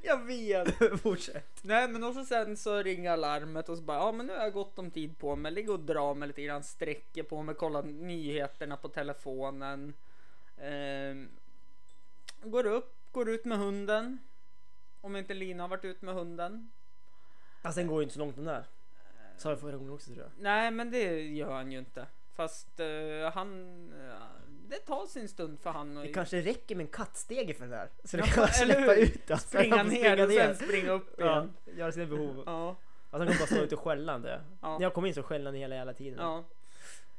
Jag vet. Fortsätt. Nej men och så sen så ringer alarmet och så bara ja men nu har jag gott om tid på mig, ligger och drar mig lite grann, sträcker på mig, kollar nyheterna på telefonen. Ehm, går upp, går ut med hunden. Om inte Lina har varit ut med hunden. Fast den går ju inte så långt den där. Sa jag förra gången också tror jag. Nej men det gör han ju inte. Fast eh, han, eh, det tar sin stund för han Det att kanske räcker med en kattstege för den där. Så Ja, den kan eller släppa hur? ut den. springa Den får ner och sen springa upp Ja, igen. göra sina behov. Ja. Alltså han kommer bara stå ute och skälla han det. Ja. När jag kom in så skällde han hela jävla tiden. Ja.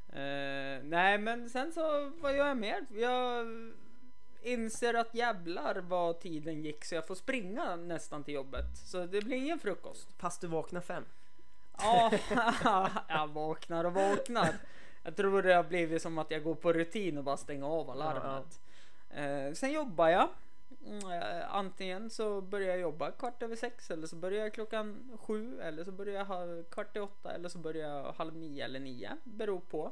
Eh, nej, men sen så, vad gör jag mer? Jag inser att jävlar vad tiden gick så jag får springa nästan till jobbet. Så det blir ingen frukost. Fast du vaknar fem. Ja, jag vaknar och vaknar. Jag tror det har blivit som att jag går på rutin och bara stänger av alarmet. Eh, sen jobbar jag. Mm, eh, Antingen så börjar jag jobba kvart över sex eller så börjar jag klockan sju eller så börjar jag halv, kvart i åtta eller så börjar jag halv nio eller nio. Beror på.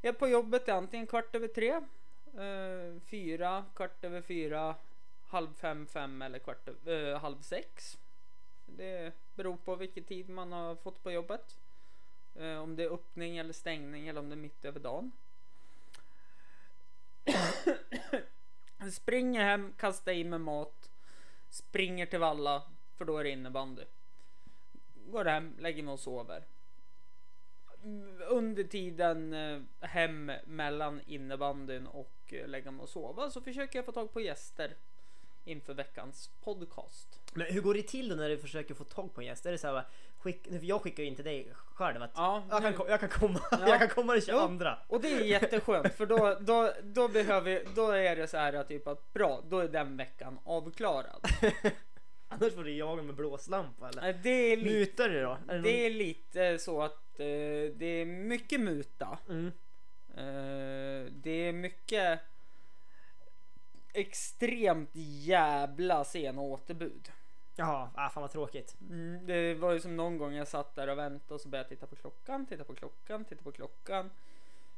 Jag är på jobbet är antingen kvart över tre, eh, fyra, kvart över fyra, halv fem, fem eller kvart över, eh, halv sex. Det beror på vilken tid man har fått på jobbet. Eh, om det är öppning eller stängning eller om det är mitt över dagen. springer hem, kastar i mig mat. Springer till valla, för då är det innebandy. Går hem, lägger mig och sover. Mm, Under tiden eh, hem mellan innebandyn och eh, lägga mig och sova så försöker jag få tag på gäster inför veckans podcast. Men hur går det till då när du försöker få tag på en gäst? Är det så här, va, skick, för jag skickar ju inte dig själv att Ja, jag, kan, nu- ko- jag kan komma, Ja. jag kan komma den Jo. 22. Och det är jätteskönt för då, då, då behöver då är det så här typ att bra, då är den veckan avklarad. Annars får du jaga med blåslampa eller? Eh, Det är, li, Mutar du då? Är det är lite så att eh, det är mycket muta. någon- mm. Eh, det är mycket extremt jävla sena återbud. Jaha, ah, fan vad tråkigt. Mm, Det var ju som någon gång jag satt där och väntade och så började jag titta på klockan, titta på klockan, titta på klockan.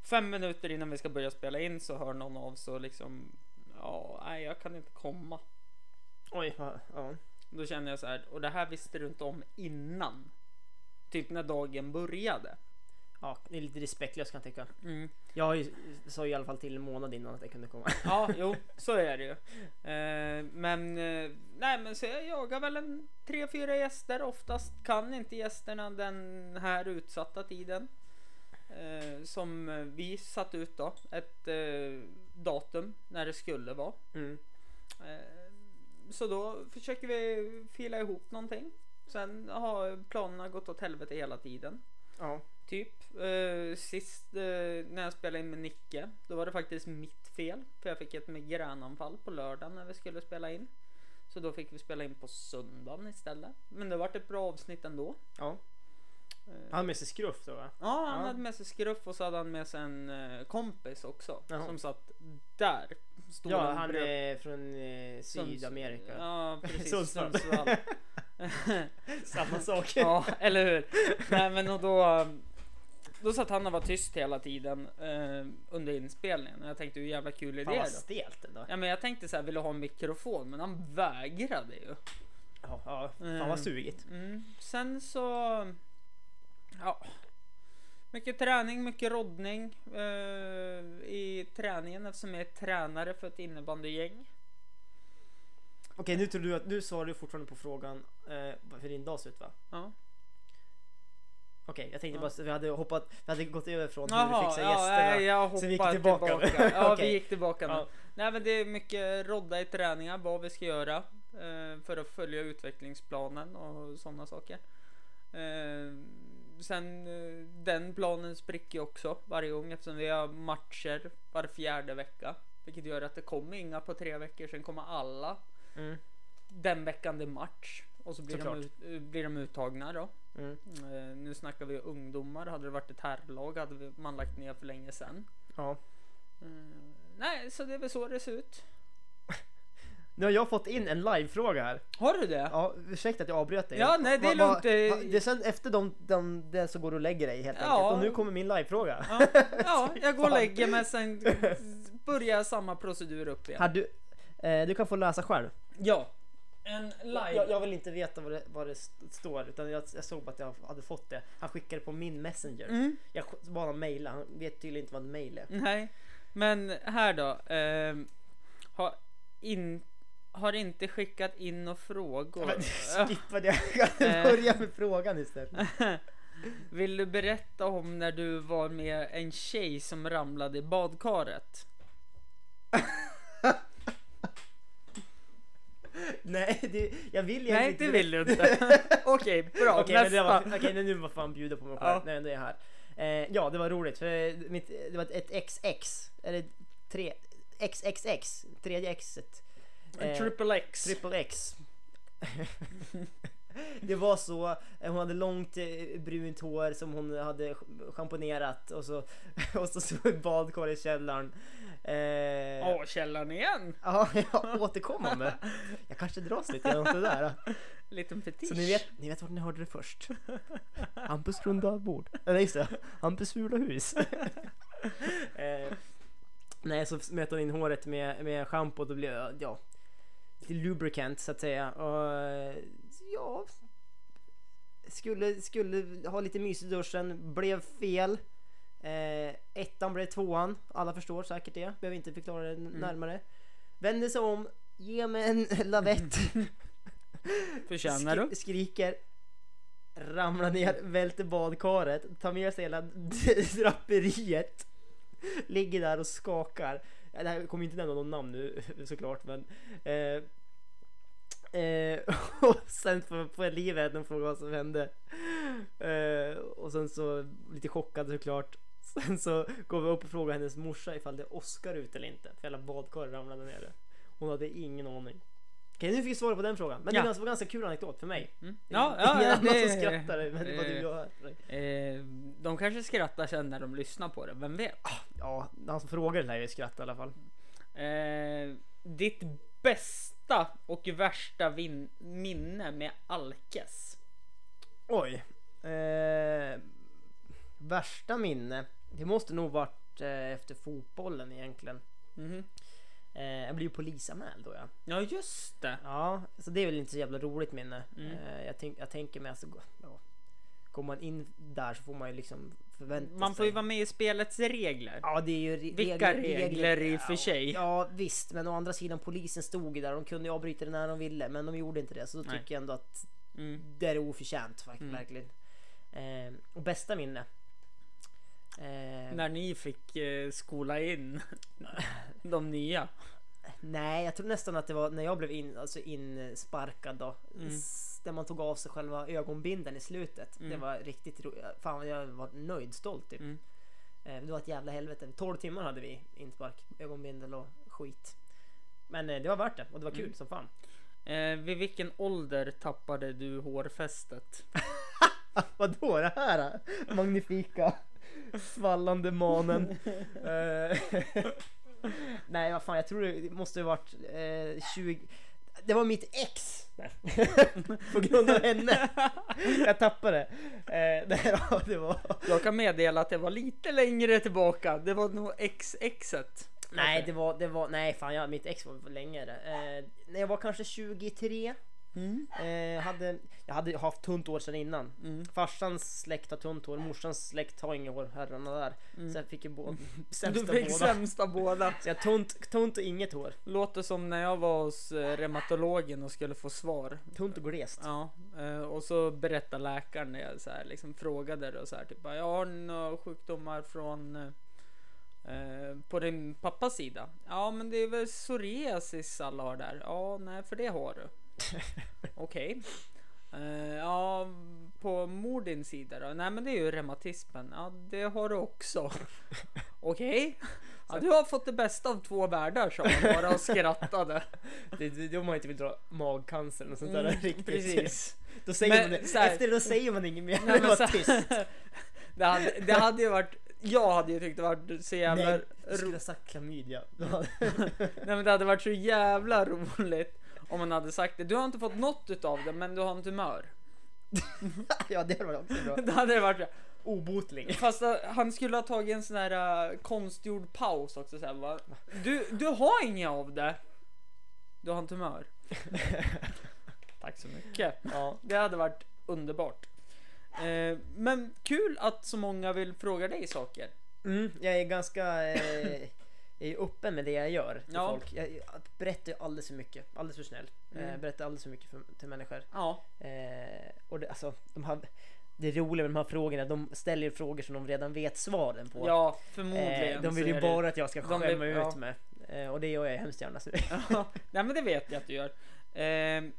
Fem minuter innan vi ska börja spela in så hör någon av så liksom, ja, nej, jag kan inte komma. Oj, vad, ja. Då känner jag så här, och det här visste du inte om innan. Typ när dagen började. ja, det är lite respektlöst kan jag tycka. Mm. Jag har ju, sa ju i alla fall till en månad innan att jag kunde komma. Ja, jo, så är det ju. Eh, men, eh, nej, men så jag jagar väl en tre, fyra gäster. Oftast kan inte gästerna den här utsatta tiden. Eh, som eh, vi satt ut då, ett eh, datum när det skulle vara. Mm. Eh, så då försöker vi fila ihop någonting. Sen har planerna gått åt helvete hela tiden. Ja. Typ eh, sist eh, när jag spelade in med Nicke. Då var det faktiskt mitt fel. För jag fick ett migränanfall på lördagen när vi skulle spela in. Så då fick vi spela in på söndagen istället. Men det vart ett bra avsnitt ändå. ja. Eh, Han har med sig skruff då va? Ja, han Ja. hade med sig skruff och så hade han med sig en eh, kompis också. Jaha. Som satt där. Stod Ja, han han bredvid- är från eh, Sunds- Sydamerika. Ja, precis. Sundsvall. Sundsvall. Samma sak. Ja, eller hur? Nej, men och då, då satt han och var tyst hela tiden eh, under inspelningen. Och jag tänkte hur jävla kul är Fan det vad då? stelt ändå. Ja, men jag tänkte så här, vill du ha en mikrofon? Men han vägrade ju. Ja, ja. Fan Mm. vad sugigt. Mm. Sen så... Ja. Mycket träning, mycket roddning eh, i träningen eftersom jag är tränare för ett innebandygäng. Okej, nu tror du att, nu svarar du fortfarande på frågan eh, hur din dag ser ut va? Ja. Okej, jag tänkte Ja. bara så vi hade hoppat, vi hade gått över från hur du Jaha, fixar ja, gästerna. nej, jag Sen vi gick hoppar tillbaka. Ja, Okej. vi gick tillbaka nu. Ja. Nej, men det är mycket rodda i träningar, vad vi ska göra eh, för att följa utvecklingsplanen och sådana saker. Eh, sen eh, den planen spricker ju också varje gång eftersom vi har matcher var fjärde vecka, vilket gör att det kommer inga på tre veckor. Sen kommer alla Mm, den veckan det är match och så blir, de, Såklart. ut, eh, blir de uttagna då. mm, Eh, nu snackar vi ungdomar. Hade det varit ett herrlag hade vi- man lagt ner för länge sedan. ja. Eh, nej, så det är väl så det ser ut. Nu har jag fått in en livefråga här. Har du det? Ja, ursäkta att jag avbröt dig. Ja, nej, det är Va- va- lugnt. Det- va- Det är sen efter de, de, det så går du och lägger dig helt Ja. enkelt. Och nu kommer min livefråga. Ja, ja jag går och Fan. lägger mig sen börjar samma procedur upp igen. Har du, eh, du kan få läsa själv. Ja, en live. Jag, jag vill inte veta vad det, vad det st- står utan jag, jag såg bara att jag hade fått det. Han skickade på min messenger. Mm, Jag sk- bad honom mejla, han vet tydligen inte vad en mejl är. nej, men här då. ehm, har, in, har inte skickat in några frågor. Men Skippa det, jag kan Eh. börja med frågan istället. Vill du berätta om när du var med en tjej som ramlade i badkaret? Nej, det, jag vill egentligen Nej, det vill du inte. Okej, bra. Okej, men det nästa. var, okej, men nu var fan bjuda på mig själv. Ja. Nej, det är jag här. Eh, ja, det var roligt för mitt, det var ett XX, eller tre, XXX, tredje Xet. En Eh, Triple X. Triple X. det var så, eh, hon hade långt eh, brunt hår som hon hade sch- schamponerat och så, och så stod ett badkar i källaren. Eh, Åh, källaren igen. Ja, jag återkommer med. Jag kanske dras lite genom det där. Liten fetisch. Så ni vet, ni vet vart ni hörde det först. Hampus runda bord. Nej just det, Hampus fula hus. eh, nej så smet hon in håret med, med schampo och då blev jag, ja, lite lubricant så att säga. Och, eh, ja, skulle, skulle ha lite mys i duschen, blev fel. Eh, ettan blev tvåan, alla förstår säkert det, behöver inte förklara det n- närmare. Vänder sig om, ger mig en lavett, Förtjänar du? skri- skriker, ramlar ner, välter badkaret, tar med sig hela draperiet, ligger där och skakar. Ja, Det här kommer inte nämna någon namn nu såklart men eh, Eh, och sen får får jag liv i henne och frågar vad som hände. Eh, och sen så lite chockad såklart. Sen så går vi upp och frågar hennes morsa ifall det är Oscar ute eller inte. För hela badkaret ramlade ner. Hon hade ingen aning. Okej, nu fick vi svara på den frågan. Men Ja. det var en ganska kul anekdot för mig. Mm. Ja, ja, Ingen ja, annan det- som skrattar men det var du eh, jag Eh, de kanske skrattar sen när de lyssnar på det, vem vet? Ja, han som frågar lär ju skratta i alla fall. Eh, ditt bästa och värsta vin- minne med alkes? Oj. Eh, värsta minne. Det måste nog varit eh, efter fotbollen egentligen. Mhm. Eh, jag blev ju polisanmäld då ja. Ja just det! Ja, så det är väl inte så jävla roligt minne. Mm. Eh, jag, tänk, jag tänker mig alltså, ja. Kommer man in där så får man ju liksom förvänta Man får ju sig- vara med i spelets regler. Ja, det är ju re- Vilka regler i ja. och för sig? Ja, visst, men å andra sidan polisen stod ju där. De kunde ju avbryta det när de ville, men de gjorde inte det. Så då Nej. tycker jag ändå att Mm. det är oförtjänt fakt- Mm. verkligen. Eh, och bästa minne? Eh, När ni fick eh, skola in de nya. Nej, jag tror nästan att det var när jag blev in, alltså insparkad då. S- Där man tog av sig själva ögonbinden i slutet. Det Mm. var riktigt roligt. Fan, jag var nöjd, stolt typ. Mm. Eh, Det var ett jävla helvete. 12 timmar hade vi inspark, ögonbindel och skit. Men eh, det var värt det och det var kul som fan. Eh, vid vilken ålder tappade du hårfästet? Vadå det här? Magnifika svallande manen. Eh, Nej, vad fan, jag tror det måste ha varit eh, 20... Det var mitt ex! Nej. På grund av henne. Jag tappade. Eh, det, ja, det var... Jag kan meddela att det var lite längre tillbaka. Det var nog XXet. Nej, det var... Det var nej, fan, jag, mitt ex var längre. Eh, när jag var kanske 23. Mm. Eh, hade, jag hade haft tunt hår sedan innan. Mm. Farsans släkt har tunt hår, morsans släkt har inget hår, herrarna där. Så jag fick ju båda, Mm. Du sämsta fick båda. sämsta båda. Så jag har tunt, tunt och inget hår. Låter som när jag var hos eh, reumatologen och skulle få svar. Tunt och glest. Ja, eh, och så berättar läkaren när jag så här, liksom frågade det och så här typ bara, jag har några sjukdomar från eh, på din pappas sida. Ja, men det är väl psoriasis alla har där. Ja, nej, för det har du. Okej. Eh, ja, på mor din sida då? Nej, men det är ju reumatismen. Ja, det har du också. Okej. Ja, du har fått det bästa av två världar sa han bara och skrattade. Mm, Det, det, då man inte vill dra magcancern och sånt där riktigt. Precis. Då säger Men man det. så här- Efter det då säger man inget mer. Nej, det men var så- tyst. Det hade, det hade ju varit, jag hade ju tyckt det varit så jävla Nej, du skulle ro- ha sagt klamydia. Då hade- Nej men det hade varit så jävla roligt om man hade sagt det. Du har inte fått något utav det men du har en tumör. ja, det var också bra. Det hade varit så. Obotlig. Fast eh, han skulle ha tagit en sån här eh, konstgjord paus också sen va. Du, du har inget av det. Du har en tumör. Tack så mycket. Ja. Det hade varit underbart. Eh, men kul att så många vill fråga dig saker. Mm, jag är ganska eh, jag är öppen med det jag gör till Ja. folk. Jag, jag berättar ju alldeles för mycket. Alldeles för snäll. Mm. Eh, berättar alldeles för mycket för, till människor. Ja. Eh, och det, alltså, de här, det roliga med de här frågorna, de ställer ju frågor som de redan vet svaren på. Ja, förmodligen. Eh, de så vill är ju det. bara att jag ska De skämma vill- ut ja. mig. Eh, och det gör jag hemskt gärna. Så. Ja, Nej men det vet jag att du gör. Ehm,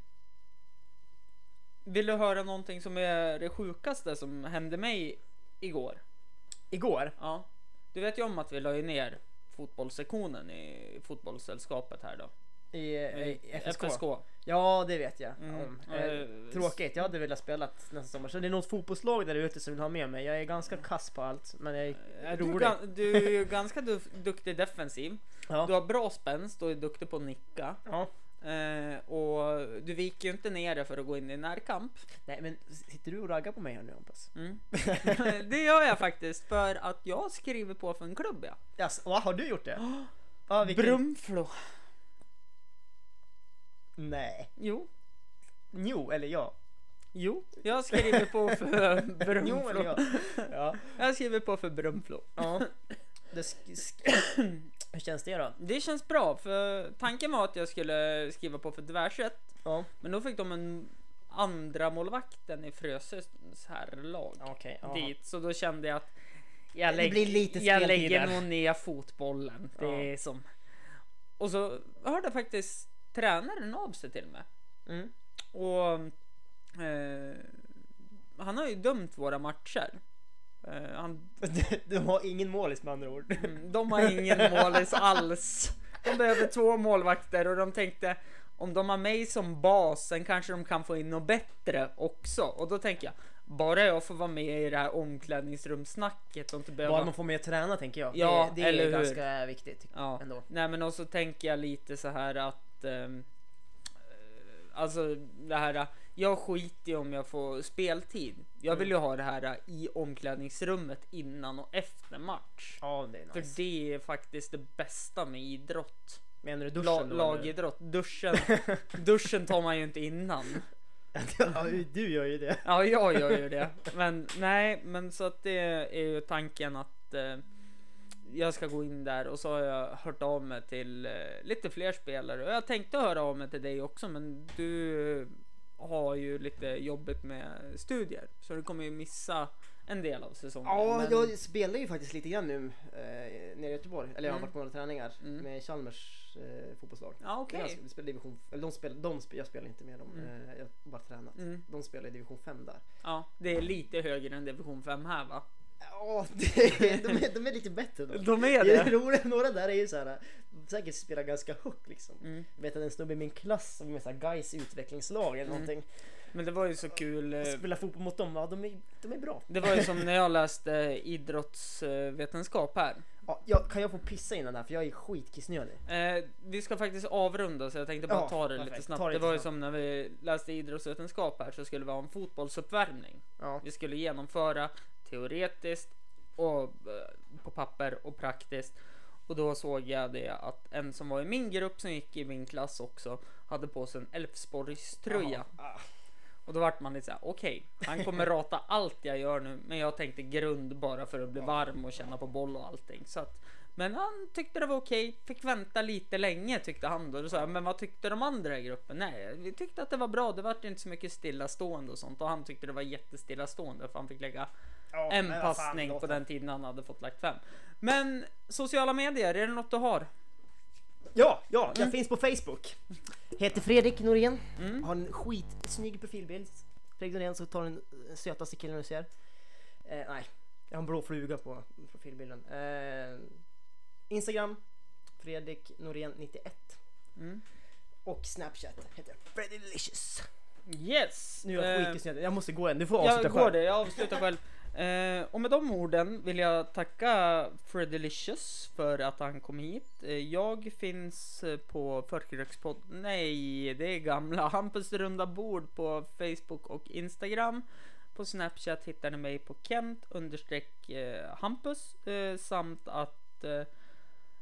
vill du höra någonting som är det sjukaste som hände mig igår? Igår? Ja. Du vet ju om att vi la ju ner fotbollssektionen i fotbollssällskapet här då. I, eh, i FSK. FSK. Ja, det vet jag Mm. om. Eh, Eh, tråkigt, jag hade velat spela nästa sommar. Så det är något fotbollslag där ute som vill ha med mig. Jag är ganska kass på allt, men jag är Eh, Du, är rolig. gan- du är ju ganska duf- duktig defensiv. Ja. Du har bra spänst och är duktig på att nicka. Ja. Eh, och du viker ju inte ner dig för att gå in i närkamp. Nej, men sitter du och raggar på mig här nu Hampus? Mm. det gör jag faktiskt för att jag skriver på för en klubb ja. Jaså, va, har du gjort det? Ja, vilken... Brumflo. Nej. Jo. Jo, eller ja. Jo, jag skriver på för Jo, eller Brunflo. ja. ja. Jag skriver på för Brunflo. ja. Det sk- sk- Hur känns det då? Det känns bra, för tanken var att jag skulle skriva på för Dvärset. Ja. Men då fick de en andra målvakten i Frösös herrlag Okej. ja. dit. Så då kände jag att jag, Det lägg, blir lite jag speltid lägger där. nog ner fotbollen. Det Ja. är som... Och så hörde faktiskt tränaren av sig till mig. Mm. Och eh, han har ju dömt våra matcher. Eh, han, Du, du har ingen målis med andra ord. de har ingen målis alls. De behöver två målvakter och de tänkte om de har mig som bas, sen kanske de kan få in något bättre också. Och då tänker jag, bara jag får vara med i det här omklädningsrumssnacket och inte behöva... Bara man får med att träna tänker jag. Ja, det det eller är hur? ganska viktigt tycker Ja. jag ändå. Nej men och så tänker jag lite så här att ehm, eh, Alltså det här eh, Jag skiter ju om jag får speltid Jag Mm. vill ju ha det här eh, i omklädningsrummet innan och efter match Ja, det är För nice. det är faktiskt det bästa med idrott Menar du La, duschen då? eller? Lagidrott, duschen Duschen tar man ju inte innan ja, du gör ju det. Ja jag gör ju det Men nej men så att det är ju tanken att eh, jag ska gå in där och så har jag hört av mig till eh, lite fler spelare och jag tänkte höra av mig till dig också men du har ju lite jobbigt med studier så du kommer ju missa en del av säsongen. Ja, men, jag spelar ju faktiskt lite grann nu eh, nere i Göteborg. Eller jag har Mm. varit på några träningar Mm. med Chalmers eh, fotbollslag. ja okej. Okay. Jag spelar division, eller de spelar, de spelar, jag spelar inte med dem, Mm. eh, jag har bara tränat. Mm, De spelar i division 5 där. ja, det är lite högre än division 5 här va? Ja, det- de, är- de är lite bättre då. De är Det är det? roligt, några där är ju så här, eh, säkert spelar ganska högt liksom. Mm. Jag vet att en snubbe i min klass som är med så här guys utvecklingslag eller Mm. någonting. Men det var ju så kul. eh, Spelar fotboll mot dem, ja de är, de är bra. Det var ju som när jag läste idrottsvetenskap här. Ja, jag, kan jag få pissa innan här för jag är skitkissnödig. Eh, vi ska faktiskt avrunda så jag tänkte bara Ja, ta det lite perfekt. snabbt. Ta Det, det lite var ju snabbt. som när vi läste idrottsvetenskap här så skulle vi ha en fotbollsuppvärmning. Ja. Vi skulle genomföra teoretiskt och eh, på papper och praktiskt. Och då såg jag det att en som var i min grupp som gick i min klass också hade på sig en Elfsborgströja. Ja. Ah, Och då vart man lite såhär, okej, han kommer rata allt jag gör nu. Men jag tänkte grund bara för att bli varm och känna på boll och allting. Så att, men han tyckte det var okej, fick vänta lite länge tyckte han då. Då sa jag, men vad tyckte de andra i gruppen? Nej, vi tyckte att det var bra, det vart inte så mycket stillastående och sånt. Och han tyckte det var jättestillastående för han fick lägga Ja, en men vad fan, passning låt på det. den tiden han hade fått lagt fem. Men sociala medier, är det något du har? Ja, ja, Mm. jag finns på Facebook. Heter Fredrik Norén. Har en skitsnygg profilbild. Fredrik Norén så tar den sötaste killen du ser. Eh, nej, jag har en blå fluga på profilbilden. Eh, Instagram, Fredrik Norén 91. Mm. Och Snapchat heter jag Freddy Delicious. Yes! Nu är jag Eh, skitkissnödig, jag måste gå än. Du får avsluta Jag går själv. det, jag avslutar själv. Eh, och med de orden vill jag tacka Fredelicious för att han kom hit. Eh, jag finns eh, på Förkrökspodd... Nej, det är gamla Hampus runda bord på Facebook och Instagram. På Snapchat hittar ni mig på Kent understreck eh, Hampus eh, samt att eh,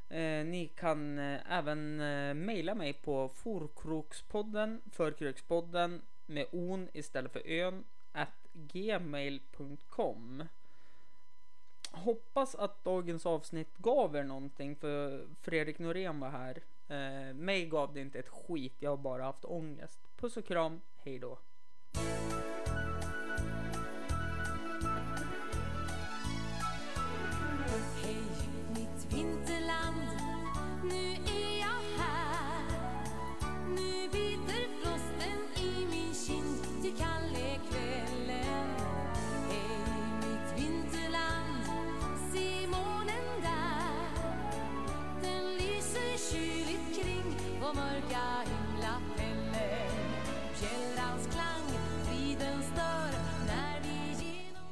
Eh, ni kan eh, även eh, mejla mig på forkrokspodden, förkrokspodden med on istället för ön, at gmail.com. Hoppas att dagens avsnitt gav er någonting för Fredrik Norén var här. Eh, mig gav det inte ett skit, jag har bara haft ångest. Puss och kram, hej då.